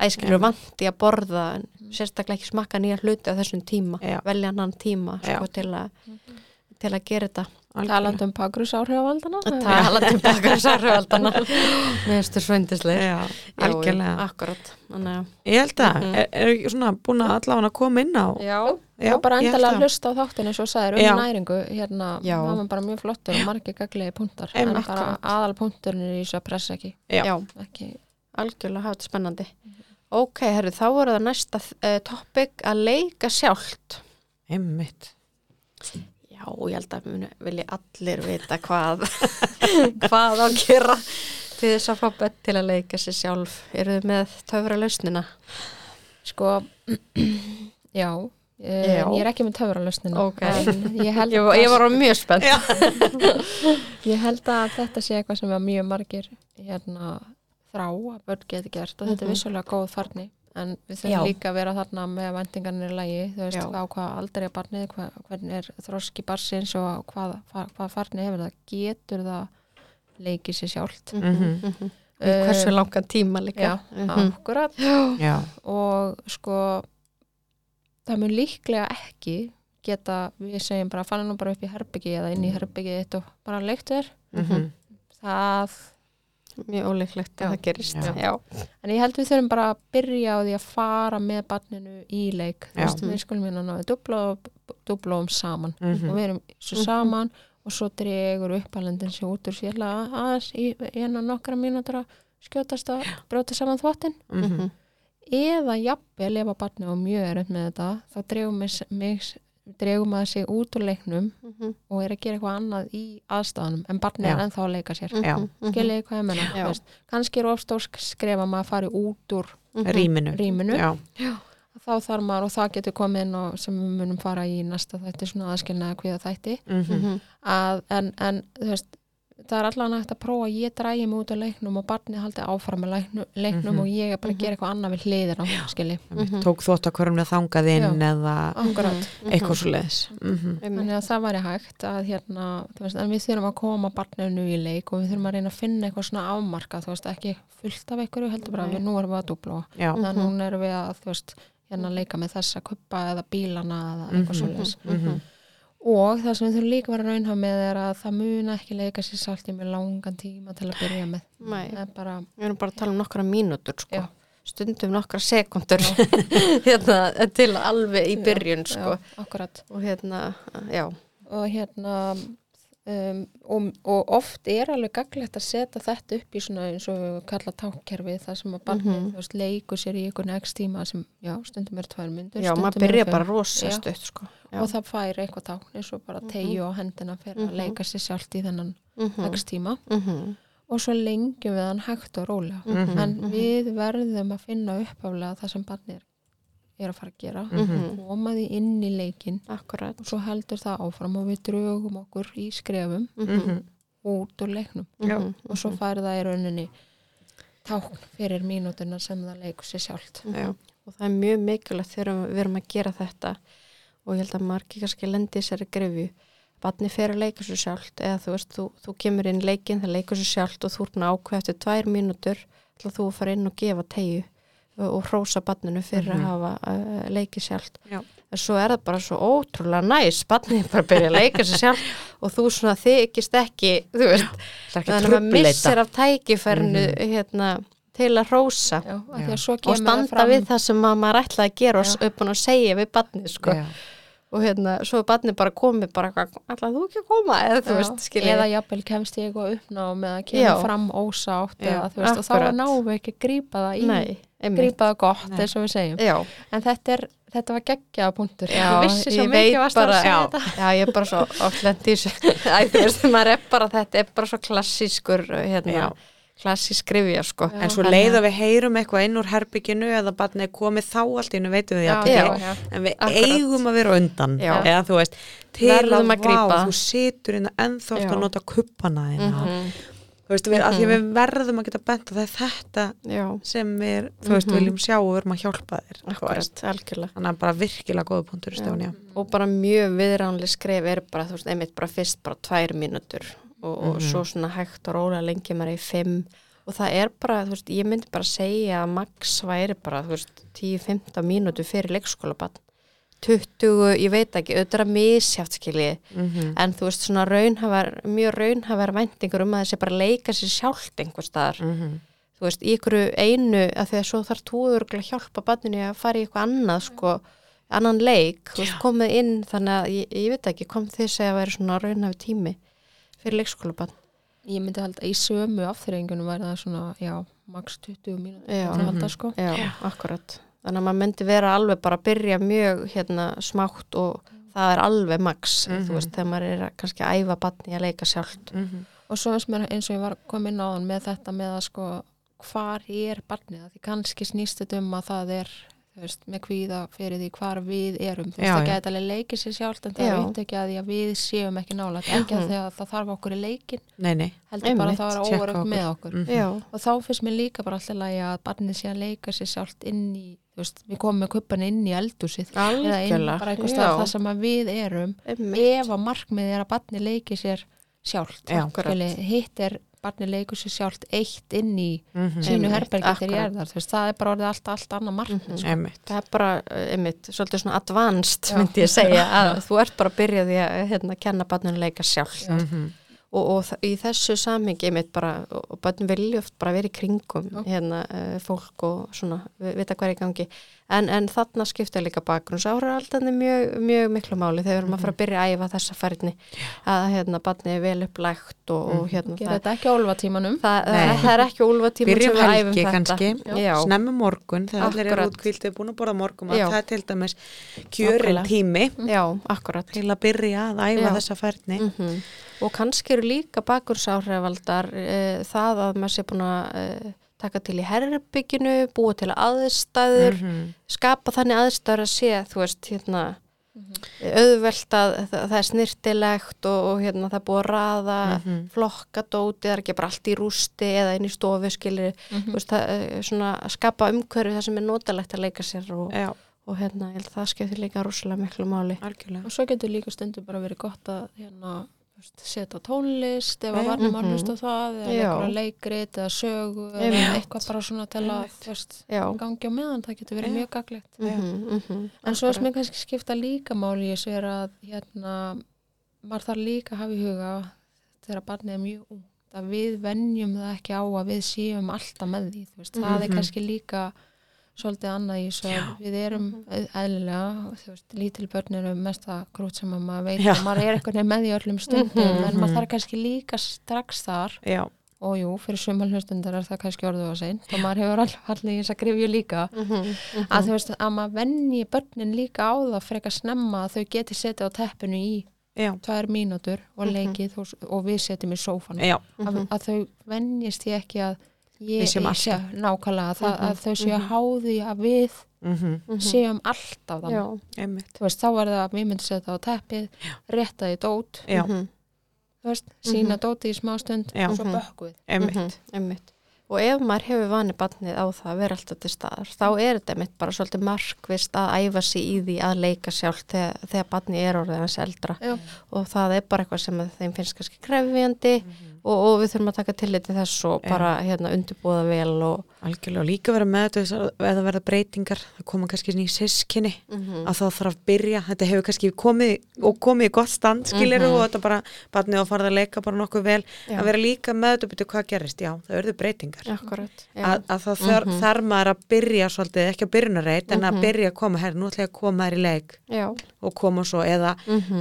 [SPEAKER 1] æskilur vandi að borða en sérstaklega ekki smakka nýja hluti á þessum tíma,
[SPEAKER 3] Já.
[SPEAKER 1] velja annan tíma sko, til, að, til að gera þetta
[SPEAKER 2] talandi um pagrús áhrifavaldana
[SPEAKER 1] að tala til bakar sáruvaldana meðstu svöndislega
[SPEAKER 3] já, algjörlega
[SPEAKER 1] Ah. akkurat þannig að-
[SPEAKER 3] Ég held að, er, er ekki svona búin að allavega að koma inn á
[SPEAKER 2] Já,
[SPEAKER 3] Já,
[SPEAKER 2] og bara
[SPEAKER 3] ég held
[SPEAKER 2] endalega
[SPEAKER 3] það.
[SPEAKER 2] hlusta á þáttinu eins og sagðir um
[SPEAKER 3] Já.
[SPEAKER 2] næringu hérna,
[SPEAKER 1] Já.
[SPEAKER 2] það var bara mjög flottur og margir gaglegi punktar en
[SPEAKER 3] Einmitt.
[SPEAKER 2] bara aðal punkturinn er í þessu að pressa ekki,
[SPEAKER 3] Já.
[SPEAKER 1] já,
[SPEAKER 2] ekki
[SPEAKER 1] algjörlega hafa þetta spennandi ok, herru, þá voru það næsta uh, topic að leika sjálft
[SPEAKER 3] Einmitt.
[SPEAKER 1] Já, ég held að muni, vilji allir vita hvað hvað á að gera til þess að fá börn til að leika sér sjálf eru þið með töfra lausnina
[SPEAKER 2] sko, já, eh,
[SPEAKER 1] Já.
[SPEAKER 2] ég er ekki með töfralösnina
[SPEAKER 1] Ok.
[SPEAKER 2] en ég held,
[SPEAKER 1] ég, var- ég var á mjög spennt Já,
[SPEAKER 2] ég held að þetta sé eitthvað sem er mjög margir hérna, þrá að börn geti gert og
[SPEAKER 1] Mhm.
[SPEAKER 2] þetta er vissulega góð farni en við
[SPEAKER 1] Já.
[SPEAKER 2] þurfum líka að vera þarna með vendingarnir í lægi, þú veist,
[SPEAKER 1] Já.
[SPEAKER 2] á hvað aldrei er barnið, hvað, hvernig er þroski barsins og hvað, hvað, hvað farnið hefur það getur það leikið sér sjálft
[SPEAKER 1] Mm. Mhm. hversu langan tíma líka
[SPEAKER 2] Eh, Já,
[SPEAKER 1] Mhm.
[SPEAKER 2] akkurat
[SPEAKER 3] Já.
[SPEAKER 2] og sko það mun líklega ekki geta, við segjum bara fannin nú bara upp í herbyggi
[SPEAKER 1] Mm.
[SPEAKER 2] eða inn í herbyggi eitt og bara leikt þér
[SPEAKER 3] Mm
[SPEAKER 2] það,
[SPEAKER 1] Mhm. mjög ólíklegt að
[SPEAKER 2] Já.
[SPEAKER 1] það gerist
[SPEAKER 3] Já.
[SPEAKER 1] Já.
[SPEAKER 2] en ég held við þurfum bara að byrja á því að fara með barninu í leik, Þú
[SPEAKER 3] Já.
[SPEAKER 2] veist, við skulum hérna náðu dubla, dublaum saman og
[SPEAKER 3] Mhm.
[SPEAKER 2] við erum svo saman og svo dregur uppalendin sér út úr sér aðeins í eina nokkra mínútur að skjótast að brjóta saman þvottin
[SPEAKER 3] Mhm.
[SPEAKER 2] eða jafnvel ef að barni og mjög er upp með þetta þá dregum, mig, mig, dregum að sig út úr leiknum
[SPEAKER 1] Mhm.
[SPEAKER 2] og er að gera eitthvað annað í aðstæðanum en barni
[SPEAKER 3] Já. Mhm.
[SPEAKER 2] er ennþá að leika sér mm.
[SPEAKER 3] Já.
[SPEAKER 2] skiljiði hvað ég menna
[SPEAKER 1] Já.
[SPEAKER 2] þú veist. kannski er ofstór skref að maður fari út úr
[SPEAKER 3] Rýminu.
[SPEAKER 2] rýminu
[SPEAKER 3] Já.
[SPEAKER 2] þá þarf maður og það getur komið inn og sem við munum fara í næsta þætti svona aðskilnaða kvíða þætti
[SPEAKER 3] Mhm.
[SPEAKER 1] Mhm.
[SPEAKER 2] að, en, en þú veist það er allan hægt að prófa að ég drægi mig út á leiknum og barni haldi áfram með leiknum, leiknum
[SPEAKER 3] Mhm.
[SPEAKER 2] og ég er bara að gera eitthvað annað við hliðir á skilji
[SPEAKER 3] Einmitt. Tók þótt að hverjum þangað inn eða
[SPEAKER 2] Akkurat.
[SPEAKER 3] eitthvað Mhm. svo leiðis.
[SPEAKER 1] Einmitt.
[SPEAKER 2] Þannig að það væri hægt að hérna, þú veist, en við þurfum að koma barninu í leik og við þurfum að reyna að finna eitthvað svona afmarka, þú veist, ekki fullt af einhverju, heldur bara,
[SPEAKER 1] Nei.
[SPEAKER 2] við, nú erum við að dúbla og
[SPEAKER 3] Já. Mhm.
[SPEAKER 2] þannig að núna erum við að, þú veist, hérna leika með þessa kuppa eða bílana eða eitthvað
[SPEAKER 3] Mhm.
[SPEAKER 2] mm
[SPEAKER 3] Mhm.
[SPEAKER 2] Og það sem við þurfum líka að vera raunhaf með er að það muna ekki leika sér sált í með langan tíma til að byrja með.
[SPEAKER 1] Nei.
[SPEAKER 2] Það er bara,
[SPEAKER 1] Við erum bara að tala um nokkra mínútur sko.
[SPEAKER 2] Já.
[SPEAKER 1] stundum nokkra sekundur hérna, til alveg í byrjun sko.
[SPEAKER 2] já, akkurat.
[SPEAKER 1] og hérna, já
[SPEAKER 2] og hérna um, og, og oft er alveg gaglegt að setja þetta upp í svona eins og kalla tákkerfi þar sem að barnið
[SPEAKER 1] Mhm.
[SPEAKER 2] þú veist, leikur sér í einhvern x tíma sem, já, stundum er tvær myndur
[SPEAKER 1] Já, maður byrja bara rosa
[SPEAKER 2] Já.
[SPEAKER 1] stutt sko.
[SPEAKER 2] og það fær eitthvað tákn eins og bara tegju á hendina fyrir
[SPEAKER 1] Mhm.
[SPEAKER 2] að leika sér sjálft í þennan
[SPEAKER 1] Mhm,
[SPEAKER 2] x tíma
[SPEAKER 1] mhm,
[SPEAKER 2] og svo lengjum við hann hægt og rólega
[SPEAKER 3] Mhm.
[SPEAKER 2] en við verðum að finna uppaflega það sem barnið er- er að fara að gera mm
[SPEAKER 1] mhm.
[SPEAKER 2] koma því inn í leikin
[SPEAKER 1] Akkurat
[SPEAKER 2] og svo heldur það áfram og við drögum okkur í skrefum
[SPEAKER 1] Mhm,
[SPEAKER 2] út úr leiknum
[SPEAKER 1] Já. Mhm.
[SPEAKER 2] og svo fær það í rauninni tákn fyrir mínútuna sem það leikur sér sjálft
[SPEAKER 1] mhm. Og það er mjög mikilvægt þegar við erum að gera þetta og ég held að margir kannski lendi í þessari grefju Batni fer að leika sér sjálft eða þú veist, þú, þú kemur inn leikinn, það leikur sér sjálft og þú erum ákveð eftir tvær mínútur til þú Mhm. að fara inn og gefa tegju og, og hrósa batninu fyrir að hafa uh, leikið sjálft
[SPEAKER 3] Já.
[SPEAKER 1] en svo er það bara svo ótrúlega næs barnið er bara að byrja að leika sér sjálf og þú svona þykist ekki þú veist,
[SPEAKER 3] Það er ekki
[SPEAKER 1] þannig að maður
[SPEAKER 3] trubleita.
[SPEAKER 1] missir af tækifærinu hérna, til að rósa
[SPEAKER 2] Mhm. Já, af því
[SPEAKER 3] Já.
[SPEAKER 2] að svo
[SPEAKER 1] og
[SPEAKER 2] kemur það
[SPEAKER 1] standa
[SPEAKER 2] fram
[SPEAKER 1] við það sem að maður ætlaði að gera og s- upp og segja við barnið sko.
[SPEAKER 3] Já.
[SPEAKER 1] og hérna, svo er barnið bara komið bara, ætlaði þú ekki að koma eða þú
[SPEAKER 2] Já,
[SPEAKER 1] veist, skiljið
[SPEAKER 2] eða jafnvel kemst ég eitthvað uppnámi eða kemur
[SPEAKER 1] Já.
[SPEAKER 2] fram ósátt
[SPEAKER 3] Já,
[SPEAKER 2] eða, þú veist, og þá
[SPEAKER 1] akkurat.
[SPEAKER 2] náum við ekki að grípa það í
[SPEAKER 1] Nei, einmitt.
[SPEAKER 2] grípa það gott,
[SPEAKER 3] Nei.
[SPEAKER 2] eins og við segjum
[SPEAKER 1] Já,
[SPEAKER 2] en þetta, er, þetta var geggjaða punktur
[SPEAKER 1] já,
[SPEAKER 2] ég vissi svo
[SPEAKER 1] ég
[SPEAKER 2] mikið
[SPEAKER 1] veit
[SPEAKER 2] varst að
[SPEAKER 1] bara,
[SPEAKER 2] segja
[SPEAKER 1] já,
[SPEAKER 2] þetta
[SPEAKER 1] já, ég er bara svo oflendi þessu, æ, þú veist, maður er bara þetta, er bara svo klassískur, hérna,
[SPEAKER 3] Já.
[SPEAKER 1] klassísk skrifja, sko.
[SPEAKER 2] Já.
[SPEAKER 3] En svo
[SPEAKER 1] Þannig
[SPEAKER 3] leið
[SPEAKER 1] að-
[SPEAKER 3] að við heyrum eitthvað inn úr herbygginu eða barnið er komið þá allt innum veitum við
[SPEAKER 2] já,
[SPEAKER 3] jafnvel
[SPEAKER 2] já,
[SPEAKER 3] ekki.
[SPEAKER 2] já.
[SPEAKER 3] en við
[SPEAKER 1] Akkurat.
[SPEAKER 3] eigum að vera á undan
[SPEAKER 1] Já.
[SPEAKER 3] eða þú veist, til
[SPEAKER 1] Verðum að
[SPEAKER 3] að
[SPEAKER 1] grípa.
[SPEAKER 3] vá, þú situr inn ennþá
[SPEAKER 1] Já.
[SPEAKER 3] aftur að nota kuppana þina
[SPEAKER 1] Mhm.
[SPEAKER 3] þú veist, við, mm því að við verðum að geta bent að það er þetta
[SPEAKER 1] Já,
[SPEAKER 3] sem við, þú veist, viljum sjá og verðum að hjálpa þér þú veist.
[SPEAKER 1] akkurat, algjörlega.
[SPEAKER 3] þannig að bara virkilega góða punktur Stefán, já.
[SPEAKER 1] og bara mjög viðránlega skref er bara, þú veist, einmitt bara fyrst bara tvær mínútur og, og
[SPEAKER 3] Mhm.
[SPEAKER 1] svo svona hægt og róla lengi maður í fimm og það er bara, þú veist, ég myndi bara segja að max væri bara, þú veist, 10-15 mínútur fyrir leikskólabann 20, ég veit ekki, auðvitað er að misjátt skilji,
[SPEAKER 3] Mhm.
[SPEAKER 1] en þú veist svona raunhafar, mjög raunhafar væntingur um að þessi bara leika sér sjálft einhver staðar,
[SPEAKER 3] Mhm.
[SPEAKER 1] þú veist, í ykkur einu, af því að svo þarf þú örgulega hjálpa banninu að fara í eitthvað annað, sko, annan leik, þú veist, komið inn, þannig að ég, ég veit ekki, kom þið segja að vera svona raunhafi tími fyrir leikskólabann.
[SPEAKER 2] ég myndi halda í sömu afþreyingunum væri það svona, já, max 20 mínútur
[SPEAKER 1] Já. Mhm.
[SPEAKER 2] myndi halda, sko.
[SPEAKER 1] Já, akkurat. Þannig að maður myndi vera alveg bara að byrja mjög hérna smátt og það er alveg max, þú veist, þegar maður er að kannski að æfa banni að leika sjálft.
[SPEAKER 3] Mhm.
[SPEAKER 2] og svo finnst mér eins og ég var komin á hann með þetta með að sko hvar er barnið, því kannski snýst þetta um að það er þú veist, með kvíða fyrir því hvar við erum þú veist,
[SPEAKER 3] Já,
[SPEAKER 2] það
[SPEAKER 3] já.
[SPEAKER 2] gæti alveg leikið sér sjálft en það
[SPEAKER 1] Já.
[SPEAKER 2] er veit ekki að því að við séum ekki nála ekki að því að það þarf okkur í leikin
[SPEAKER 3] nei, nei
[SPEAKER 2] heldur bara
[SPEAKER 1] Einmitt,
[SPEAKER 2] að það
[SPEAKER 3] tékka
[SPEAKER 2] er
[SPEAKER 3] okkur.
[SPEAKER 2] óverögt með okkur
[SPEAKER 3] Mhm.
[SPEAKER 1] Já,
[SPEAKER 2] og þá finnst mér líka bara alltaf lagi að barnið sé að leika sér sjálft inn í þú veist, við komum með kuppan inn í eldúsið eða inn
[SPEAKER 1] algjörlega.
[SPEAKER 2] bara einhvers
[SPEAKER 1] Já,
[SPEAKER 2] stað það sem að við erum
[SPEAKER 1] einmitt.
[SPEAKER 2] ef að markmið er að barni leiki sér sjálft
[SPEAKER 3] Já.
[SPEAKER 2] Skilji, hitt er barni leikur sér sjálft eitt inn í
[SPEAKER 3] Mhm.
[SPEAKER 2] sínu
[SPEAKER 1] Einmitt,
[SPEAKER 2] herbergi þegar ég
[SPEAKER 1] akkurat. Mhm.
[SPEAKER 2] er þar þú veist, það er bara orðið allt, allt annað markmið sko.
[SPEAKER 3] Einmitt.
[SPEAKER 1] það er bara, eh, einmitt, svolítið svona advanced myndi ég segja að þú ert bara að byrja því að hérna, kenna barninu að leika sjálf
[SPEAKER 3] Mhm.
[SPEAKER 1] og, og þa- í þessu samhengi einmitt bara, og og börn vilja oft bara vera í kringum hérna, eh, fólk og svona vi- vita hvað er í gangi en, en þarna skipta líka bakgrunns áhraldandi mjög, mjög miklu máli þegar maður fara að byrja að æfa þessa færni að hérna, barnið er vel upplægt og, og hérna
[SPEAKER 2] gera
[SPEAKER 1] það,
[SPEAKER 2] þetta ekki á olvatímanum
[SPEAKER 1] það,
[SPEAKER 3] Mhm.
[SPEAKER 1] það,
[SPEAKER 3] Nei.
[SPEAKER 1] það er ekki úlfa tíma
[SPEAKER 3] byrjum
[SPEAKER 1] sem við æfum
[SPEAKER 3] helgi
[SPEAKER 1] þetta
[SPEAKER 3] kannski
[SPEAKER 1] Já.
[SPEAKER 3] snemmu morgun þegar allir eru
[SPEAKER 1] Akkurat.
[SPEAKER 3] útkvíldið búin að borða morgum
[SPEAKER 1] Já.
[SPEAKER 3] það er til dæmis
[SPEAKER 1] Nákvæmlega.
[SPEAKER 3] kjörin tími
[SPEAKER 1] Já, akkurat
[SPEAKER 3] til að byrja að æfa
[SPEAKER 1] Já.
[SPEAKER 3] þessa færni
[SPEAKER 1] -hmm. Og kannski eru líka bakursáhrifaldar e, það að maður sé búin að e, taka til í herbygginu, búa til aðstæður, skapa þannig aðstæður að sé, þú veist, hérna, auðvelt að það, það er snirtilegt og, og hérna, það er búið að raða flokkadóti, það er ekki bara allt í rústi eða inn í stofu skilir, þú veist, það, e, svona, að skapa umhverfi það sem er notalegt að leika sér og,
[SPEAKER 3] Já,
[SPEAKER 1] og hérna, ég held að það skiptir líka rosalega miklu máli.
[SPEAKER 3] algjörlega
[SPEAKER 2] og svo getur líka stundum bara verið gott að hérna, þú veist, setja tónlist ef
[SPEAKER 3] Já.
[SPEAKER 2] að barnum
[SPEAKER 1] Mhm.
[SPEAKER 2] að hlusta á það eða
[SPEAKER 1] Já.
[SPEAKER 2] einhverja leikrit eða sögu eða
[SPEAKER 1] Einmitt.
[SPEAKER 2] eitthvað bara svona til að þú veist,
[SPEAKER 1] Já.
[SPEAKER 2] gangi á meðan það getur verið mjög gaglegt
[SPEAKER 1] Mm -hmm, mm -hmm.
[SPEAKER 2] En svo sem ég kannski skipta líka máli í þessu er að hérna, maður þarf líka að hafa í huga þegar barnið er mjög út að við venjum það ekki á að við séum alltaf með því, þú veist, það er kannski líka svolítið annað í þessu að við erum eðlilega, þú veist, lítil börn eru mesta krút sem að maður veit
[SPEAKER 3] Já.
[SPEAKER 2] að maður er einhvern veginn með því öllum stundum en maður þarf kannski líka strax þar
[SPEAKER 3] Já,
[SPEAKER 2] og jú, fyrir sumar hlustundar er það kannski orðuð að sein og maður hefur all- allir í þess að grifju líka
[SPEAKER 1] Mhm.
[SPEAKER 2] að þú veist að maður venni börnin líka á það frekar snemma að þau geti setið á teppinu í
[SPEAKER 3] já,
[SPEAKER 2] tvær mínútur og
[SPEAKER 1] Mhm.
[SPEAKER 2] leikið og, og við setjum í sófan
[SPEAKER 3] já
[SPEAKER 2] að, að þau vennjist því ekki að
[SPEAKER 3] Við
[SPEAKER 2] ég
[SPEAKER 3] séum
[SPEAKER 2] ég sé nákvæmlega að, að þau séu
[SPEAKER 1] Mhm.
[SPEAKER 2] að háði að við
[SPEAKER 3] mhm,
[SPEAKER 2] séum allt af það
[SPEAKER 1] Já,
[SPEAKER 3] einmitt
[SPEAKER 2] þú veist þá er það að við myndum setja á teppið rétta því dót
[SPEAKER 3] Já,
[SPEAKER 1] mhm,
[SPEAKER 2] þú veist, sína dóti í smá stund
[SPEAKER 3] Já.
[SPEAKER 2] og svo bökkuð
[SPEAKER 3] einmitt
[SPEAKER 1] mhm, einmitt. Og ef maður hefur vanið barnið á það að vera alltaf til staðar, þá er þetta mitt bara svolítið markvist að æfa sig í því að leika sjálf þegar, þegar barnið er orðið hans eldra
[SPEAKER 2] Já.
[SPEAKER 3] Mhm.
[SPEAKER 1] og það er bara eitthvað sem að þeim finnst kannski krefjandi og, og við þurfum að taka tillit til þess og bara hérna undirbúða vel og
[SPEAKER 3] algjörlega og líka vera með þetta eða verða breytingar, það koma kannski ný sískinni, að þá þarf að byrja þetta hefur kannski komið og komið í gott stand skilur og þetta bara barnið og farið að leika bara nokkuð vel,
[SPEAKER 1] Já.
[SPEAKER 3] að vera líka með þetta betur hvað gerist, já, það verður breytingar
[SPEAKER 1] akkurat
[SPEAKER 3] að, að það þarf mm maður að byrja svolítið, ekki að byrjunareit en að byrja að koma, herr, nú ætla ég að koma þær í leik
[SPEAKER 1] já, Mhm.
[SPEAKER 3] og koma svo eða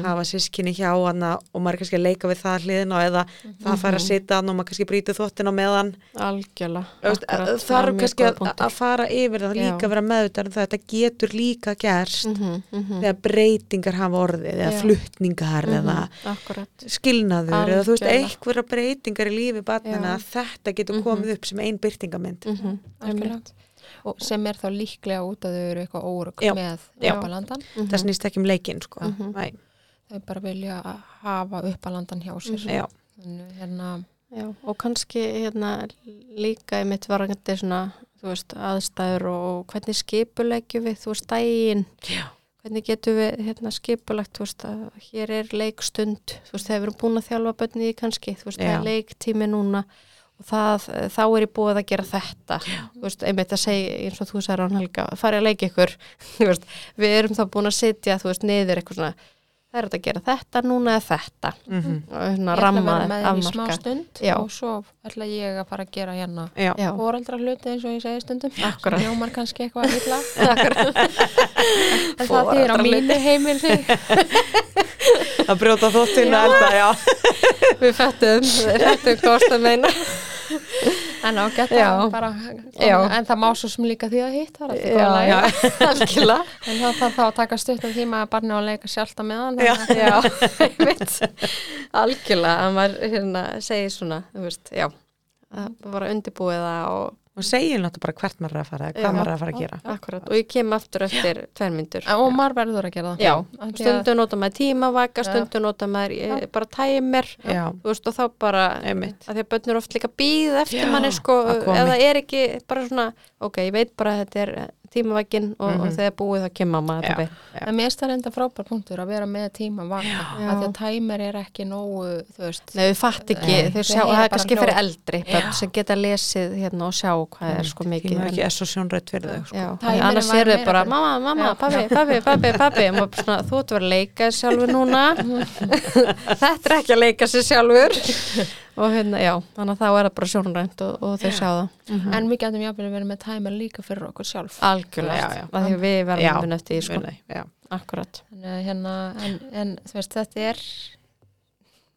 [SPEAKER 3] hafa sískinni hjá hana og maður er kannski að leika við það hliðin og eða það fær að sita hann og maður kannski brýtu þvottin á meðan
[SPEAKER 1] algjörlega
[SPEAKER 3] Þú veist,
[SPEAKER 1] akkurat.
[SPEAKER 3] það
[SPEAKER 1] er
[SPEAKER 3] er
[SPEAKER 1] mjög
[SPEAKER 3] kannski
[SPEAKER 1] góður
[SPEAKER 3] að,
[SPEAKER 1] punktur.
[SPEAKER 3] að fara yfir það
[SPEAKER 1] Já.
[SPEAKER 3] líka að vera meðvitað um það þetta getur líka gerst
[SPEAKER 1] Mhm, mhm,
[SPEAKER 3] þegar breytingar hafa orðið eða
[SPEAKER 1] Já.
[SPEAKER 3] fluttningar eða
[SPEAKER 1] akkurat
[SPEAKER 3] skilnaður eða þú veist
[SPEAKER 1] Algjörlega.
[SPEAKER 3] einhverja breytingar í lífi
[SPEAKER 1] Já.
[SPEAKER 3] batnina að þetta getur komið upp sem ein byrtingamynd
[SPEAKER 1] Mhm, einmitt.
[SPEAKER 2] Algjörlega. og sem er þá líklega út að þau eru eitthvað órug
[SPEAKER 3] Já.
[SPEAKER 2] með
[SPEAKER 3] Já.
[SPEAKER 2] uppalandan
[SPEAKER 1] Mhm.
[SPEAKER 3] það snýst ekki um leikinn sko Æ,
[SPEAKER 2] þau bara vilja að hafa uppalandan hjá
[SPEAKER 1] Mhm.
[SPEAKER 2] sér
[SPEAKER 3] já,
[SPEAKER 2] þannig hérna
[SPEAKER 1] Já, og kannski hérna líka í mitt varandi svona, þú veist, aðstæður og hvernig skipulegjum við, þú veist, daginn,
[SPEAKER 3] já,
[SPEAKER 1] hvernig getum við hérna skipulegt, þú veist, að hér er leikstund, þú veist, þegar við erum búin að þjálfa bönni í kannski, þú veist, það
[SPEAKER 3] Já.
[SPEAKER 1] er leiktími núna og það, þá er ég búið að gera þetta, þú veist, einmitt að segja eins og þú sagði Rán Helga, farið að leika ykkur, þú veist, við erum þá búin að sitja, þú veist, niður eitthvað svona, það er hægt að gera þetta, núna er þetta,
[SPEAKER 3] mm
[SPEAKER 1] og svona
[SPEAKER 2] ég ætla að
[SPEAKER 1] ramma,
[SPEAKER 2] vera með þeim í smá
[SPEAKER 1] afmarka.
[SPEAKER 2] stund
[SPEAKER 1] Já.
[SPEAKER 2] og svo ætla ég að fara að gera hérna
[SPEAKER 3] já.
[SPEAKER 1] Já,
[SPEAKER 2] fóraldra hluti eins og ég segi stundum
[SPEAKER 1] Akkúrat.
[SPEAKER 2] sem hljómar kannski eitthvað illa en það þýðir á
[SPEAKER 1] Foreldrahluti.
[SPEAKER 2] mínu heimili
[SPEAKER 3] að brjóta þóttinu að elda, já
[SPEAKER 1] við fættum, við fættum um hvort að meina.
[SPEAKER 2] en á
[SPEAKER 1] Já.
[SPEAKER 2] geta bara
[SPEAKER 1] Já.
[SPEAKER 2] en það má svo sem líka því að hitt það er alltaf góða
[SPEAKER 1] Já,
[SPEAKER 2] læg
[SPEAKER 1] já, algjörlega.
[SPEAKER 2] En þá þarf þá að taka stuttum tíma að barni og leika sjálta með hann.
[SPEAKER 3] Já.
[SPEAKER 2] þannig að-
[SPEAKER 1] Já, einmitt, algjörlega að maður hérna segir svona, þú veist, já, að bara undirbúið það og
[SPEAKER 3] og segja náttúrulega bara hvert maður er að fara eða
[SPEAKER 1] Já.
[SPEAKER 3] hvað maður er að fara að gera
[SPEAKER 1] akkurat og ég kem aftur eftir tvær myndur.
[SPEAKER 2] Og maður verður að gera það.
[SPEAKER 1] Já,
[SPEAKER 2] Af því að-
[SPEAKER 1] stundu nota maður tímavaka,
[SPEAKER 2] Já.
[SPEAKER 1] stundu nota maður eh,
[SPEAKER 2] Já.
[SPEAKER 1] bara tæmir,
[SPEAKER 3] já,
[SPEAKER 1] þú veist, og þá bara,
[SPEAKER 3] einmitt
[SPEAKER 1] að því að börnur oft líka býð eftir
[SPEAKER 3] Já,
[SPEAKER 1] manni, sko,
[SPEAKER 3] að komi.
[SPEAKER 1] eða er ekki bara svona, ok, ég veit bara að þetta er tímavakin og, og þegar búið þá kemur maður
[SPEAKER 3] Já.
[SPEAKER 1] þetta beint.
[SPEAKER 3] Já.
[SPEAKER 2] En mér er það enda frábær punktur að vera með tíma vaka. Af því að tæmer er ekki nógu, þú veist.
[SPEAKER 1] Nei, við fatt ekki,
[SPEAKER 2] Nei,
[SPEAKER 1] þau
[SPEAKER 2] þau
[SPEAKER 1] sjá,
[SPEAKER 2] heyra
[SPEAKER 1] það er
[SPEAKER 2] bara
[SPEAKER 1] kannski
[SPEAKER 2] hljóð.
[SPEAKER 1] fyrir eldri börn sem geta lesið hérna og sjá hvað er sko mikið.
[SPEAKER 3] tíma er
[SPEAKER 1] en-
[SPEAKER 3] ekki er svo sjónrætt fyrir þau sko.
[SPEAKER 1] Já,
[SPEAKER 2] Tæmirinn
[SPEAKER 1] en annars
[SPEAKER 2] væri
[SPEAKER 1] eru þau
[SPEAKER 2] meira
[SPEAKER 1] bara,
[SPEAKER 2] fyrir-
[SPEAKER 1] mamma, mamma, pabbi, pabbi, pabbi, pabbi, og maður bara svona, þú ert að vera að leika þér sjálfur núna, þetta er ekki að leika sér sjálfur, og hérna, já, þannig að þá er það bara sjónrænt og, og þau sjá það.
[SPEAKER 2] En við getum jafnvel að vera með tæmer líka fyrir okkur sjálf.
[SPEAKER 1] Algjörlega,
[SPEAKER 3] Já, já.
[SPEAKER 1] af því að við verðum
[SPEAKER 3] Já,
[SPEAKER 1] að vinna eftir því, sko,
[SPEAKER 3] muni, já.
[SPEAKER 1] akkurat.
[SPEAKER 2] Þannig að hérna, en, en þú veist, þetta er,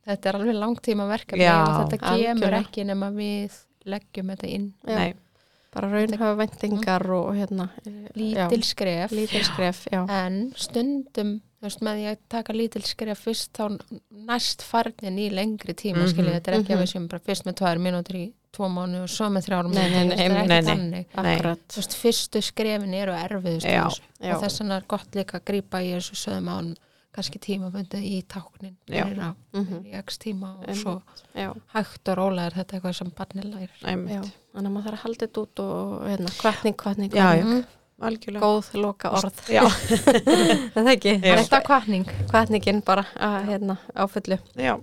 [SPEAKER 2] þetta er alveg langtíma verkefni
[SPEAKER 3] Já.
[SPEAKER 2] og þetta kemur
[SPEAKER 1] Algjörlega.
[SPEAKER 2] ekki nema við leggjum þetta inn.
[SPEAKER 1] Já.
[SPEAKER 3] Nei.
[SPEAKER 1] Bara raunhafa vendingar og og hérna, já,
[SPEAKER 2] Lítil skref.
[SPEAKER 1] lítil skref, já.
[SPEAKER 2] en stundum þú veist, með því að taka lítil skrifa fyrst þá næst farnin í lengri tíma mm
[SPEAKER 3] Mhm.
[SPEAKER 2] þetta er ekki að við séum bara fyrst með tvær mínútur í tvo mánu og svo með þrjár
[SPEAKER 1] Nei, nei,
[SPEAKER 2] mínútur, þú veist, það er
[SPEAKER 1] nei,
[SPEAKER 2] ekki
[SPEAKER 3] nei, nei.
[SPEAKER 2] þannig
[SPEAKER 3] Nei.
[SPEAKER 1] Akkurat,
[SPEAKER 2] þú veist, fyrstu skrefin eru erfiðust
[SPEAKER 3] Já,
[SPEAKER 1] já.
[SPEAKER 2] og þess vegna er gott líka að grípa í þessu sögum án kannski tímabundið í táknin
[SPEAKER 3] Já.
[SPEAKER 2] fyrir á-
[SPEAKER 1] Mhm.
[SPEAKER 2] í x tíma og
[SPEAKER 1] Einmitt.
[SPEAKER 2] svo
[SPEAKER 1] já.
[SPEAKER 2] hægt og rólega er þetta eitthvað sem barnið lærir
[SPEAKER 1] Já,
[SPEAKER 3] Einmitt.
[SPEAKER 1] þannig að maður þarf að halda þetta út og hérna, hvatning, hvatning,
[SPEAKER 3] Já, já.
[SPEAKER 1] hvatning,
[SPEAKER 2] Mhm.
[SPEAKER 3] algjörlega
[SPEAKER 1] góð loka orð,
[SPEAKER 3] já,
[SPEAKER 1] er það ekki?
[SPEAKER 3] Jú.
[SPEAKER 1] Rétta
[SPEAKER 2] alltaf kvartning
[SPEAKER 1] hvatningin bara að hérna áfullu.
[SPEAKER 3] já,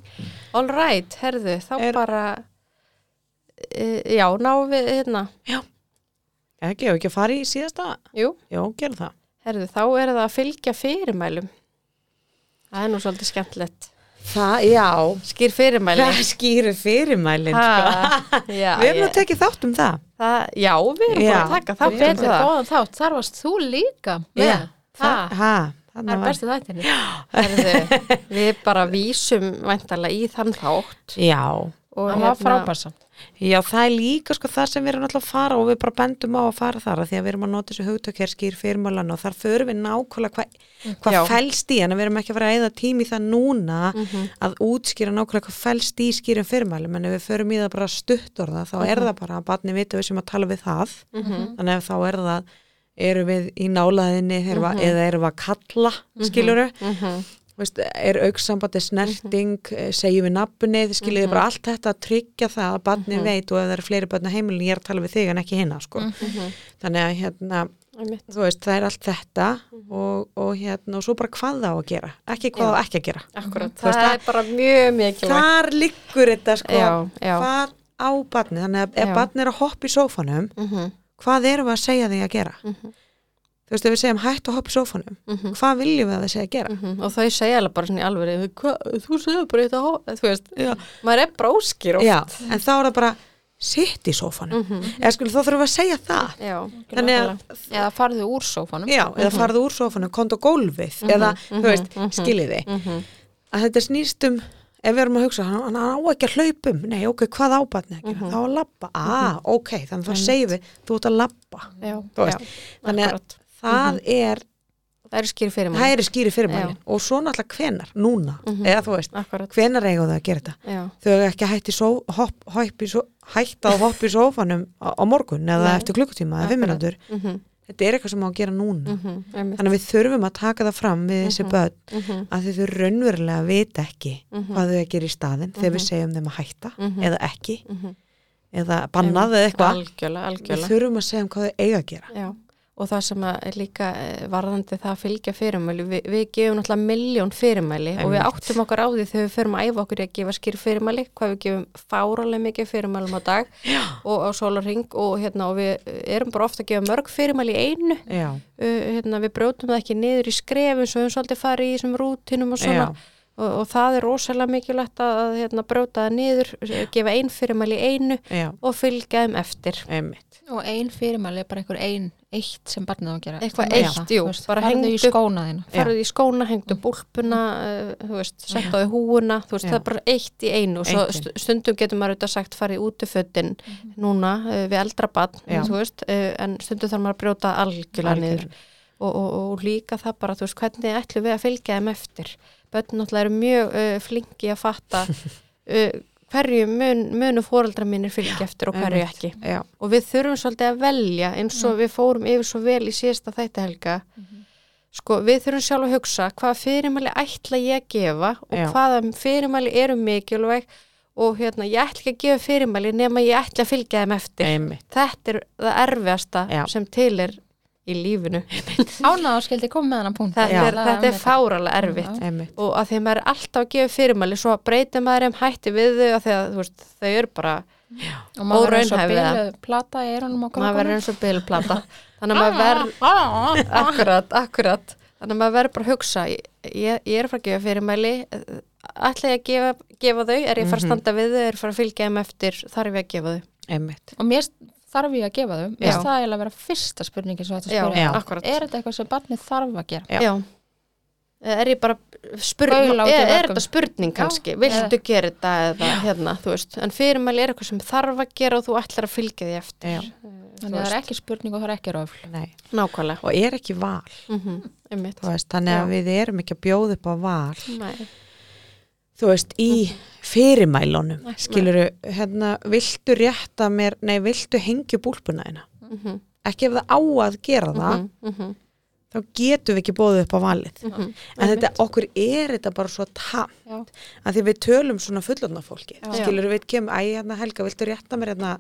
[SPEAKER 1] All right, herðu, þá
[SPEAKER 3] Er-
[SPEAKER 1] bara, e, já, náum við hérna,
[SPEAKER 3] ekki, hefur ekki að fara í síðasta
[SPEAKER 1] jú,
[SPEAKER 3] já, gera það
[SPEAKER 1] herðu, þá er það að fylgja fyrirmælum. Það er nú svolítið skemmtilegt.
[SPEAKER 3] það, já,
[SPEAKER 1] Skýr fyrirmæli.
[SPEAKER 3] það skýru fyrirmælin sko.
[SPEAKER 1] Ha, já,
[SPEAKER 3] við erum
[SPEAKER 1] ég-
[SPEAKER 3] að tekið þátt um það
[SPEAKER 1] það, já, við erum
[SPEAKER 3] Já.
[SPEAKER 1] bara að taka það
[SPEAKER 3] Við erum
[SPEAKER 1] betur
[SPEAKER 2] betur
[SPEAKER 1] það.
[SPEAKER 2] góðan þátt, þar varst þú líka með,
[SPEAKER 3] Já.
[SPEAKER 2] það, það
[SPEAKER 3] ha, þarna
[SPEAKER 2] er
[SPEAKER 3] var-
[SPEAKER 2] bestu þættinni
[SPEAKER 1] Herðu, við bara vísum væntalega í þann þátt.
[SPEAKER 3] já,
[SPEAKER 1] og
[SPEAKER 2] hann var
[SPEAKER 1] hérna-
[SPEAKER 2] frábær samt
[SPEAKER 3] Já, það er líka sko það sem við erum alltaf að fara og við bara bendum á að fara þar að því að við erum að nota þessu hugtök hér skýr fyrirmálan og þar förum við nákvæmlega hvað hva
[SPEAKER 1] Já.
[SPEAKER 3] fælst í en við erum ekki að fara að eða tími það núna að útskýra nákvæmlega hvað fælst í skýrum fyrirmælum en ef við förum í það bara stutt orða þá er það bara að barni vita við sem að tala við það þannig að þá er það eru við í nálaðinni erum mm eða erum við að kalla skiluru veist, er auksambandi snerting
[SPEAKER 1] Mhm.
[SPEAKER 3] mm segjum við nafnið, skiljið bara allt þetta að tryggja það
[SPEAKER 1] Mhm. Mhm.
[SPEAKER 3] að barni veit og ef það eru fleiri barni heimilin, ég er að tala við þig en ekki hinna sko. þannig að hérna,
[SPEAKER 1] einmitt.
[SPEAKER 3] þú veist, það er allt þetta og, og hérna, og svo bara hvað það á að gera ekki hvað
[SPEAKER 1] Mhm. Já.
[SPEAKER 3] það á ekki að gera
[SPEAKER 1] Akkurat,
[SPEAKER 3] Þú veist,
[SPEAKER 1] það, er bara mjög mikilvægt.
[SPEAKER 3] þar liggur þetta sko
[SPEAKER 1] Já, já.
[SPEAKER 3] hvað á barnið, þannig að ef
[SPEAKER 1] Já.
[SPEAKER 3] barnið er að hoppa í sófanum
[SPEAKER 1] Mhm,
[SPEAKER 3] hvað erum við að segja því að gera
[SPEAKER 1] mhm,
[SPEAKER 3] þú veist, ef við segjum hætt að hoppa í sófanum
[SPEAKER 1] mhm,
[SPEAKER 3] hvað viljum við að það segja að gera
[SPEAKER 1] mhm. Og þau segja alveg bara svona í alveg, þú segir bara þetta, hó-" þú veist,
[SPEAKER 3] Já.
[SPEAKER 1] maður er bara óskýr og...
[SPEAKER 3] já, en þá er það bara sitt í sófanum
[SPEAKER 1] Mhm,
[SPEAKER 3] eða skil, þá þurfum við að segja það
[SPEAKER 1] Já,
[SPEAKER 3] þannig
[SPEAKER 1] nákvæmlega.
[SPEAKER 3] að,
[SPEAKER 2] eða farðu úr sófanum
[SPEAKER 3] já, eða farðu úr sófanum konta gólfið, eða, þú veist, skiljiði
[SPEAKER 1] Mhm. Mhm,
[SPEAKER 3] að þetta snýst um ef við erum að hugsa, hann, hann á ekki að hlaupum nei, ok, hvað ábatni ekki,
[SPEAKER 1] Mhm.
[SPEAKER 3] mm -hmm. þá að labba ah, ok, þannig þá segir við þú ert að labba,
[SPEAKER 1] Já,
[SPEAKER 3] þú
[SPEAKER 1] já,
[SPEAKER 3] veist þannig að
[SPEAKER 1] akkurat.
[SPEAKER 3] það
[SPEAKER 1] Mhm.
[SPEAKER 3] er,
[SPEAKER 1] Það eru skýr fyrir
[SPEAKER 3] það
[SPEAKER 1] mann.
[SPEAKER 3] er skýri fyrirmælin og svo náttúrulega hvenar, núna
[SPEAKER 1] Mhm.
[SPEAKER 3] eða þú veist,
[SPEAKER 1] Akkurat,
[SPEAKER 3] hvenar eiga það að gera þetta
[SPEAKER 1] já.
[SPEAKER 3] þau eru ekki að hætti só, hopp, hopp, so, hætta og hoppa í sófanum á, á morgun eða
[SPEAKER 1] Nei.
[SPEAKER 3] eftir klukkutíma eða fimm
[SPEAKER 1] Akkurat.
[SPEAKER 3] minútur
[SPEAKER 1] Mhm,
[SPEAKER 3] þetta er eitthvað sem á að gera núna
[SPEAKER 1] mhm, einmitt.
[SPEAKER 3] þannig að við þurfum að taka það fram við þessi börn
[SPEAKER 1] Mhm,
[SPEAKER 3] að þau þau raunverulega vita ekki
[SPEAKER 1] mhm,
[SPEAKER 3] hvað þau að gera í staðin þegar við segjum þeim að hætta
[SPEAKER 1] Mhm.
[SPEAKER 3] eða ekki
[SPEAKER 1] mhm.
[SPEAKER 3] eða bannað eða eitthvað
[SPEAKER 1] Algjörlega,
[SPEAKER 3] við
[SPEAKER 1] algjörlega.
[SPEAKER 3] þurfum að segja um hvað þau eiga að gera
[SPEAKER 1] Já, og það sem að er líka eh, varðandi það að fylgja fyrirmæli, Vi, við gefum náttúrulega miljón fyrirmæli og við
[SPEAKER 3] Einmitt.
[SPEAKER 1] áttum okkur á því þegar við förum að æfa okkur í að gefa skýr fyrirmæli, hvað við gefum fáralega mikið fyrirmælum á dag Já. og á sólarring og hérna og við erum bara ofta að gefa mörg fyrirmæli í einu,
[SPEAKER 3] já,
[SPEAKER 1] uh, hérna við brjótum það ekki niður í skrefum svo við höfum svolítið farið í þessum rútinum og svona.
[SPEAKER 3] já,
[SPEAKER 1] Og, og það er rosalega mikilvægt að að, hérna, brjóta það niður, eh, gefa ein fyrirmæli í einu
[SPEAKER 3] já,
[SPEAKER 1] og fylgja þeim eftir.
[SPEAKER 3] einmitt
[SPEAKER 2] og ein fyrirmæli er bara einhver ein eitt sem barnið á að gera
[SPEAKER 1] Eitthvað
[SPEAKER 2] Þú veist
[SPEAKER 1] eitt,
[SPEAKER 2] það,
[SPEAKER 1] jú,
[SPEAKER 2] þú veist,
[SPEAKER 1] bara
[SPEAKER 2] farðu
[SPEAKER 1] hengdu
[SPEAKER 2] í
[SPEAKER 1] upp-
[SPEAKER 2] skóna þína
[SPEAKER 1] farið í skóna, hengdu búlpuna uh, þú veist, sett á því húuna þú veist,
[SPEAKER 3] Mm. Já.
[SPEAKER 1] það er bara eitt í einu og svo
[SPEAKER 3] Eitt í- Mhm.
[SPEAKER 1] st- stundum getur maður auðvitað sagt farið út í fötin núna uh, við eldra barn,
[SPEAKER 3] Já.
[SPEAKER 1] þú veist uh, en stundum þarf maður að brjóta algjörlega niður
[SPEAKER 3] Algjörlega.
[SPEAKER 1] og, og, og líka það bara, þú veist, hvernig ætlum við að fylgja þeim eftir börn náttúrulega eru mjög uh, flinki að fatta uh, hverju mun, munu fóreldra mínir fylgja eftir og hverju
[SPEAKER 3] einmitt.
[SPEAKER 1] ekki
[SPEAKER 3] já,
[SPEAKER 1] og við þurfum svolítið að velja eins og
[SPEAKER 3] Mm.
[SPEAKER 1] við fórum yfir svo vel í síðasta þætti helga
[SPEAKER 3] Mhm.
[SPEAKER 1] sko við þurfum sjálf að hugsa hvaða fyrirmæli ætla ég að gefa og
[SPEAKER 3] Já.
[SPEAKER 1] hvaða fyrirmæli eru mikilvæg og hérna ég ætla ekki að gefa fyrirmæli nema ég ætla að fylgja þeim eftir
[SPEAKER 3] einmitt
[SPEAKER 1] þetta er það erfiðasta
[SPEAKER 3] Já.
[SPEAKER 1] sem til er í lífinu
[SPEAKER 2] ánaða skildi koma með hennan punkt
[SPEAKER 1] þetta,
[SPEAKER 3] Já.
[SPEAKER 1] er, þetta er fáralega erfitt
[SPEAKER 3] einmitt,
[SPEAKER 1] og að því að maður er alltaf að gefa fyrirmæli svo breytir maður þeim hætti við þau að því að þú veist, þau eru bara
[SPEAKER 2] og maður er svo
[SPEAKER 1] óraunhæf við það.
[SPEAKER 2] bílu plata í erunum á
[SPEAKER 1] maður verður eins og bylplata þannig
[SPEAKER 3] Ah.
[SPEAKER 1] að maður verður
[SPEAKER 2] verður
[SPEAKER 1] akkurat, akkurat þannig að maður verður bara að hugsa ég, ég er að fara að gefa fyrirmæli ætla ég að gefa, gefa þau, er ég að fara að standa við þau er ég að fara að fylgja þeim eftir, þarf ég að gefa þau
[SPEAKER 3] einmitt
[SPEAKER 2] og mér þarf ég að gefa þau mér
[SPEAKER 1] Já.
[SPEAKER 2] finnst það eiginlega að vera fyrsta spurningi sem þetta
[SPEAKER 1] já,
[SPEAKER 2] spurði
[SPEAKER 1] akkurat
[SPEAKER 2] er þetta eitthvað sem barnið þarf að gera
[SPEAKER 3] Já.
[SPEAKER 1] já. er ég bara spur, er,
[SPEAKER 2] Baula út í
[SPEAKER 1] er
[SPEAKER 2] veggum.
[SPEAKER 1] þetta spurning kannski, viltu gera þetta eða hérna, þú veist, en fyrirmæli er eitthvað sem þarf að gera og þú ætlar að fylgja því eftir
[SPEAKER 3] Já.
[SPEAKER 2] þannig að það er ekki spurning og það er ekki röfl
[SPEAKER 3] Nei.
[SPEAKER 1] nákvæmlega
[SPEAKER 3] og er ekki val
[SPEAKER 1] mm einmitt
[SPEAKER 3] þú veist, þannig að
[SPEAKER 1] Já.
[SPEAKER 3] við erum ekki að bjóða upp á val
[SPEAKER 1] Nei.
[SPEAKER 3] þú veist, í fyrirmælunum skiluru, hérna, viltu rétta mér, nei, viltu hengja búlpuna þeina
[SPEAKER 1] Mhm.
[SPEAKER 3] ekki ef það á að gera það
[SPEAKER 1] Mhm, mhm,
[SPEAKER 3] þá getum við ekki bóðið upp á valið
[SPEAKER 1] mhm.
[SPEAKER 3] en þetta, okkur er þetta bara svo tamt
[SPEAKER 2] Já.
[SPEAKER 3] að því við tölum svona fullorna fólki
[SPEAKER 1] Já. Mhm.
[SPEAKER 3] skilur við kemum, æ, hérna Helga, viltu rétta mér hérna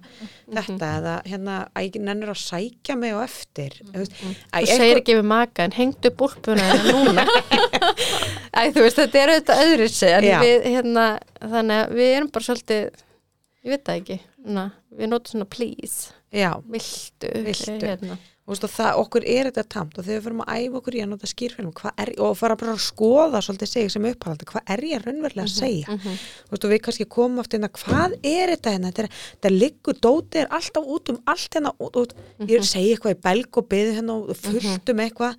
[SPEAKER 3] þetta eða hérna, æ, nennir að sækja mig á eftir mm -hmm. æ,
[SPEAKER 1] Mhm. Þú segir ekki við maka en hengdu upp úlpuna hennar núna. Æ, þú veist, þetta er auðvitað öðru sig, en
[SPEAKER 3] Já.
[SPEAKER 1] við, hérna, þannig að við erum bara svolítið, ég veit það ekki, na, við notum svona please,
[SPEAKER 3] já,
[SPEAKER 1] viltu,
[SPEAKER 3] Viltu.
[SPEAKER 1] hérna.
[SPEAKER 3] þú veist, og það, okkur er þetta tamt og þegar við fyrir að æfa okkur í að nota skýrfilm er, og fara bara að skoða svolítið sig sem upphaldi, hvað er ég raunverulega að segja þú veist, og við kannski komum aftur hérna hvað er þetta hérna, þetta, er, þetta liggur dótið er alltaf út um allt hérna út, út. ég segi eitthvað í belg og byði hérna og fullt um eitthvað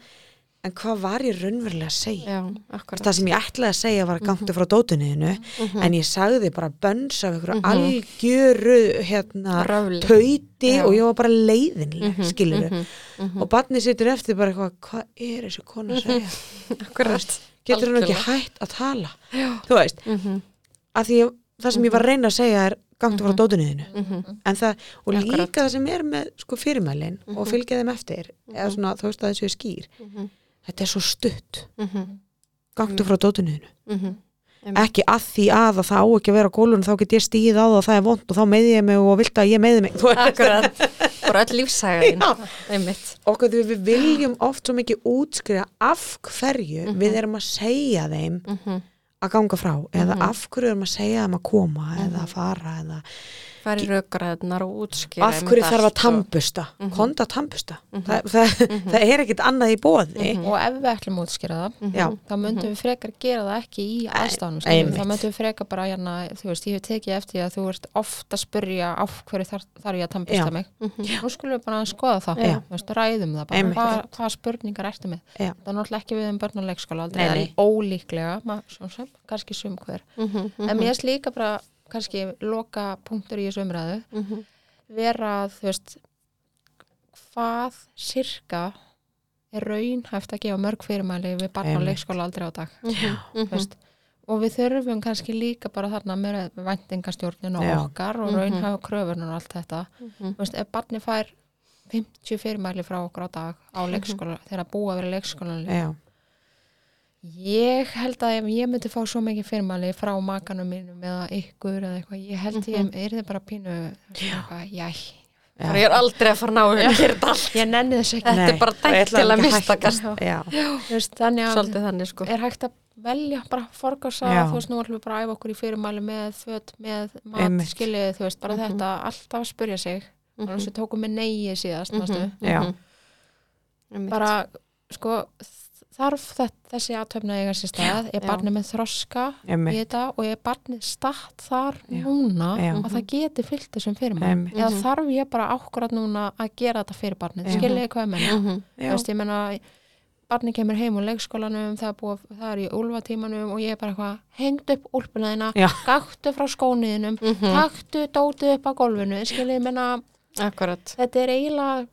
[SPEAKER 3] en hvað var ég raunverulega að segja
[SPEAKER 1] Já, akkurat.
[SPEAKER 3] það sem ég ætlaði að segja var gangt frá dótuniðinu en ég sagði bara bönns af einhverju algjöru hérna,
[SPEAKER 1] Röfli.
[SPEAKER 3] tauti
[SPEAKER 1] Já. Mhm,
[SPEAKER 3] og ég var bara leiðinlega mm skilur og barnið situr eftir bara eitthvað hvað er þessi kona að segja
[SPEAKER 1] akkurat.
[SPEAKER 3] getur hann ekki
[SPEAKER 1] Mhm. Algjörlega.
[SPEAKER 3] hætt að tala þú veist,
[SPEAKER 1] Mhm,
[SPEAKER 3] að því ég- það sem ég var að reyna að segja er gangt frá dótuniðinu
[SPEAKER 1] mhm,
[SPEAKER 3] en það, og
[SPEAKER 1] Akkurat.
[SPEAKER 3] líka það sem er með sko fyrirmælin og fylgja þeim eftir eða svona þú veist að þessu skýr
[SPEAKER 1] mhm,
[SPEAKER 3] þetta er svo stutt,
[SPEAKER 1] mhm,
[SPEAKER 3] gangt frá dótuniðinu
[SPEAKER 1] mhm.
[SPEAKER 3] ekki að því að að það á ekki að vera á gólun þá get ég stíð á það að það er vond og þá meði ég mig og vilt að ég meði mig Þú veist,
[SPEAKER 1] Akkurat, og bara öll lífsæðin
[SPEAKER 3] Já.
[SPEAKER 1] einmitt
[SPEAKER 3] okkur því við viljum oft svo mikið útskriða af hverju
[SPEAKER 1] Mhm.
[SPEAKER 3] við erum að segja þeim að ganga frá eða
[SPEAKER 1] Mhm.
[SPEAKER 3] af hverju erum að segja þeim að koma eða að fara eða
[SPEAKER 1] færi raukraðnar og útskýra
[SPEAKER 3] af hverju
[SPEAKER 1] einmitt
[SPEAKER 3] þarf að
[SPEAKER 1] allt Mhm. og-
[SPEAKER 3] tampusta mm konda tampusta Þa, það,
[SPEAKER 1] Mhm.
[SPEAKER 3] það er ekkit annað í bóði
[SPEAKER 2] og ef við ætlum að útskýra það
[SPEAKER 1] Mhm.
[SPEAKER 3] já,
[SPEAKER 2] þá myndum við frekar gera það ekki í aðstæðanum
[SPEAKER 3] einmitt.
[SPEAKER 2] skilur, þá myndum við frekar bara hérna, þú veist, ég hef tekið eftir að þú ert oft að spurja af hverju þar, þarf ég að
[SPEAKER 3] Já.
[SPEAKER 2] tampista mig
[SPEAKER 1] Mhm,
[SPEAKER 2] nú skulum við bara að skoða það
[SPEAKER 3] Já.
[SPEAKER 2] þú veist, ræðum það bara,
[SPEAKER 3] Einmitt.
[SPEAKER 2] hvað hva spurningar ertu með
[SPEAKER 3] Já.
[SPEAKER 2] það er náttúrulega ekki við um börn og leikskóla aldrei,
[SPEAKER 3] Nei,
[SPEAKER 2] nei,
[SPEAKER 3] nei.
[SPEAKER 2] ólíklega ma- svo sem, kannski sum hver
[SPEAKER 1] mhm,
[SPEAKER 3] Mhm.
[SPEAKER 2] en mér erst líka bara, kannski loka punktur í þessu umræðu
[SPEAKER 1] mhm,
[SPEAKER 2] vera, þú veist hvað sirka er raunhæft að gefa mörg fyrirmæli við barn og
[SPEAKER 3] Einmitt. Mhm.
[SPEAKER 2] leikskóla aldrei á dag Þú veist, og við þurfum kannski líka bara þarna meira vendingastjórnin og
[SPEAKER 3] Já. Mhm.
[SPEAKER 2] okkar og raunhæfa kröfun og allt þetta
[SPEAKER 1] mhm.
[SPEAKER 2] Þú veist, ef barni fær 50 fyrirmæli frá okkur á dag á leikskóla, þegar að búa að vera
[SPEAKER 1] Mhm.
[SPEAKER 2] leikskólanlega
[SPEAKER 3] já,
[SPEAKER 2] ég held að ef ég myndi fá svo mikið fyrirmæli frá makanum mínum eða ykkur eða eitthvað, ég held ég er þið bara pínu eitthvað, jæ,
[SPEAKER 1] Bara ég er aldrei að fara að ná um hér dalt
[SPEAKER 2] ég nenni þess ekki
[SPEAKER 1] Þetta er
[SPEAKER 3] Nei,
[SPEAKER 1] bara
[SPEAKER 3] og
[SPEAKER 1] dæmt
[SPEAKER 3] ég ætla
[SPEAKER 1] til að
[SPEAKER 3] ekki
[SPEAKER 1] mistakast.
[SPEAKER 3] hætta. Já.
[SPEAKER 2] Þú veist, þannig að
[SPEAKER 1] svolítið þannig sko
[SPEAKER 2] er hægt að velja bara forgasa,
[SPEAKER 3] Já.
[SPEAKER 2] þú veist, nú ætlum við bara að æfa okkur í fyrirmæli með föt, með mat,
[SPEAKER 3] Einmitt.
[SPEAKER 2] skilið, þú veist, bara þetta alltaf að spurja sig, mm
[SPEAKER 1] Mhm.
[SPEAKER 2] -hmm. þessu tókum við neyið síðast, mm
[SPEAKER 3] já,
[SPEAKER 2] bara, sko þarf þetta, þessi aðtöfna eiga sér stað er
[SPEAKER 1] já.
[SPEAKER 2] barnið með þroska í
[SPEAKER 3] emmi,
[SPEAKER 2] þetta og er barnið statt þar
[SPEAKER 3] Já.
[SPEAKER 2] núna
[SPEAKER 3] Já. Mhm.
[SPEAKER 2] að það geti fyllt þessum fyrirmæli
[SPEAKER 3] emmi
[SPEAKER 2] eða þarf ég bara ákkurat núna að gera þetta fyrir barnið,
[SPEAKER 3] Já.
[SPEAKER 2] skiljiði hvað ég menna
[SPEAKER 1] Mhm.
[SPEAKER 3] já,
[SPEAKER 2] þú veist, ég menna barni kemur heim úr leikskólanum það er, búið, það er í úlfatímanum og ég er bara eitthvað hengd upp úlpunaðina
[SPEAKER 3] Já.
[SPEAKER 2] gaktu frá skóniðinum taktu dótið upp á gólfinu skiljiði menna,
[SPEAKER 1] akkurat
[SPEAKER 2] þetta er eiginlega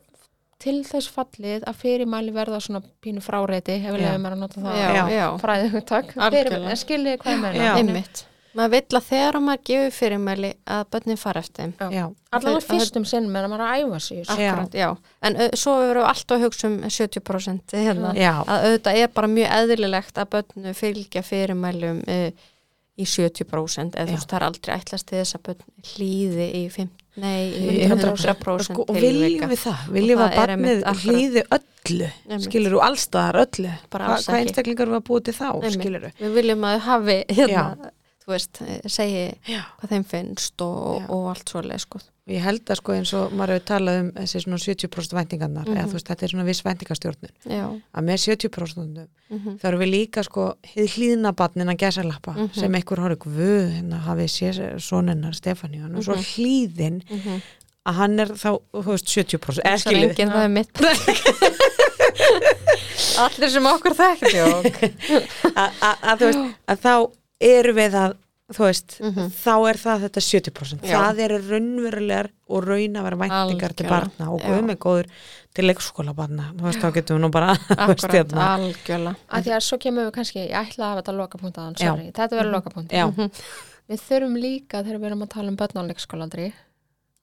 [SPEAKER 2] til þess fallið að fyrirmæli verða svona pínu fráreiti ef við
[SPEAKER 3] Já.
[SPEAKER 2] lefum mér að nota það
[SPEAKER 1] já,
[SPEAKER 3] Já.
[SPEAKER 1] já,
[SPEAKER 2] fræðið hugtak
[SPEAKER 1] Algjörlega.
[SPEAKER 2] skiljiði hvað ég menna
[SPEAKER 3] Já.
[SPEAKER 1] einmitt maður vill að þegar maður gefur fyrirmæli að börnin fara eftir þeim
[SPEAKER 3] já,
[SPEAKER 2] allavega fyrstum sinn menna maður er að æfa sig í þessu.
[SPEAKER 1] akkurat, já, en ö, svo verður við alltaf að hugsa um 70% hérna,
[SPEAKER 3] Já.
[SPEAKER 1] að auðvitað er bara mjög eðlilegt að börnu fylgja fyrirmælum uh, í 70% eða þú veist, það er aldrei ætlast til þess að börn hlýði í 5, nei, í
[SPEAKER 3] Í
[SPEAKER 1] 100%,
[SPEAKER 3] og, sko, og
[SPEAKER 1] tilvika.
[SPEAKER 3] viljum við það viljum við
[SPEAKER 1] Og
[SPEAKER 3] að
[SPEAKER 1] það er
[SPEAKER 3] barnið
[SPEAKER 1] einmitt akkurat.
[SPEAKER 3] hlýði öllu
[SPEAKER 1] Einmitt.
[SPEAKER 3] skilur þú allstaðar öllu
[SPEAKER 1] Bara
[SPEAKER 3] Hva,
[SPEAKER 1] alls
[SPEAKER 3] hvað
[SPEAKER 1] ekki.
[SPEAKER 3] einstaklingar eru að búið til þá
[SPEAKER 1] Einmitt.
[SPEAKER 3] skilur þú
[SPEAKER 1] Við viljum að þau hafi hérna, þú veist, eh, segi
[SPEAKER 3] Já.
[SPEAKER 1] hvað þeim finnst og, og allt svoleið sko.
[SPEAKER 3] Ég held að sko eins og maður hefur talað um þessi svona 70% væntingarnar eða þú veist þetta er svona viss væntingastjórnun
[SPEAKER 1] Já,
[SPEAKER 3] að með 70% þá erum við líka sko hið hlýðna barnin að gæsa lappa sem einhver horið guð hérna hafið sér sonennar Stefáníu hann er svo hlýðin að hann er þá þú veist 70% eða
[SPEAKER 1] svo
[SPEAKER 3] skilur
[SPEAKER 1] enginn það er mitt
[SPEAKER 2] sko.
[SPEAKER 1] Allir sem okkur þekkti og
[SPEAKER 3] að að- þú veist að þá erum við að þú veist þá er það þetta 70%
[SPEAKER 1] Mhm. Já.
[SPEAKER 3] það eru raunverulegar og raunavar væntingar til
[SPEAKER 1] Algjörlega.
[SPEAKER 3] barna og
[SPEAKER 1] Já.
[SPEAKER 3] guð með góður til leikskóla barna þú veist þá getum við nú bara þú veist,
[SPEAKER 1] akkurat,
[SPEAKER 3] hérna.
[SPEAKER 1] algjörlega
[SPEAKER 2] að því að svo kemur við kannski, ég ætla að hafa þetta lokapunktaðan,
[SPEAKER 3] Já.
[SPEAKER 2] sorry, þetta
[SPEAKER 1] Mhm.
[SPEAKER 2] verður lokapunkt
[SPEAKER 3] Já,
[SPEAKER 2] Við þurfum líka þegar við erum að tala um börn á leikskólandri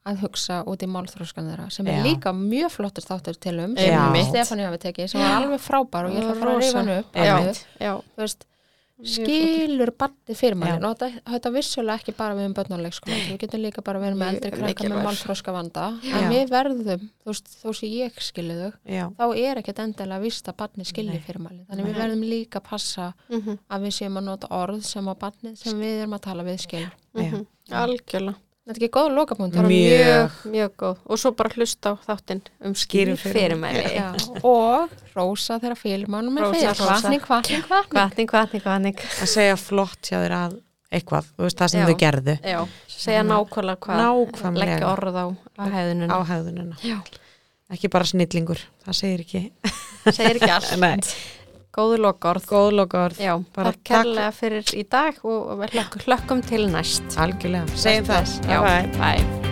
[SPEAKER 2] að hugsa út í málþróskan þeirra sem er
[SPEAKER 3] Já.
[SPEAKER 2] líka mjög flottur þáttur til um
[SPEAKER 1] Já.
[SPEAKER 2] sem Stefáni hafi tekið sem var alveg frábær og ég ætla að fara að reyfa hann upp
[SPEAKER 1] Já,
[SPEAKER 2] alveg.
[SPEAKER 1] já,
[SPEAKER 2] Þú veist, skilur barni fyrir
[SPEAKER 3] Já.
[SPEAKER 2] manni og þetta, þetta vissulega ekki bara við um börn á leikskólandri við getum líka bara verið með eldri krakka
[SPEAKER 1] Mikilvægt.
[SPEAKER 2] með málþróska vanda
[SPEAKER 3] Já.
[SPEAKER 2] en við verðum, þú veist, þó sem ég skilu þau
[SPEAKER 3] já,
[SPEAKER 2] þá er ekkert endilega víst að barni skilji fyrirmæli þannig við verðum líka að passa
[SPEAKER 3] Mhm.
[SPEAKER 2] að við séum að nota orð sem að barni sem við erum að tala við skilur
[SPEAKER 3] já.
[SPEAKER 1] mhm, algjörlega
[SPEAKER 2] Þetta er ekki góð lokapunkt
[SPEAKER 3] Mjög.
[SPEAKER 1] Mjög, mjög góð og svo bara hlusta á þáttinn um skýrum
[SPEAKER 3] Skýrum fyrirmæli.
[SPEAKER 1] fyrirmæli
[SPEAKER 2] Já, og rósa þegar fyrirmælum er
[SPEAKER 1] Hrósa,
[SPEAKER 2] fyrir
[SPEAKER 1] hrósa.
[SPEAKER 2] hvatning, hvatning,
[SPEAKER 1] Kvatning,
[SPEAKER 2] hvatning
[SPEAKER 1] kvatning, kvatning
[SPEAKER 3] að segja flott hjá þér að eitthvað, þú veist það sem
[SPEAKER 1] Já.
[SPEAKER 3] þau gerðu
[SPEAKER 1] Já, segja nákvæmlega hvað
[SPEAKER 3] Nákvæmlega.
[SPEAKER 1] leggja orð á, á
[SPEAKER 3] á
[SPEAKER 1] hæðununa
[SPEAKER 3] hefðunina,
[SPEAKER 1] Já,
[SPEAKER 3] ekki bara snillingur það segir ekki
[SPEAKER 1] segir ekki allt
[SPEAKER 3] Nei.
[SPEAKER 1] Góðu lokaorð
[SPEAKER 3] góð lokaorð,
[SPEAKER 1] Já,
[SPEAKER 3] Bara
[SPEAKER 1] takk kærlega fyrir í dag og við hlökkum til næst
[SPEAKER 3] algjörlega, segjum það,
[SPEAKER 1] Já,
[SPEAKER 3] Bye bye.
[SPEAKER 1] bye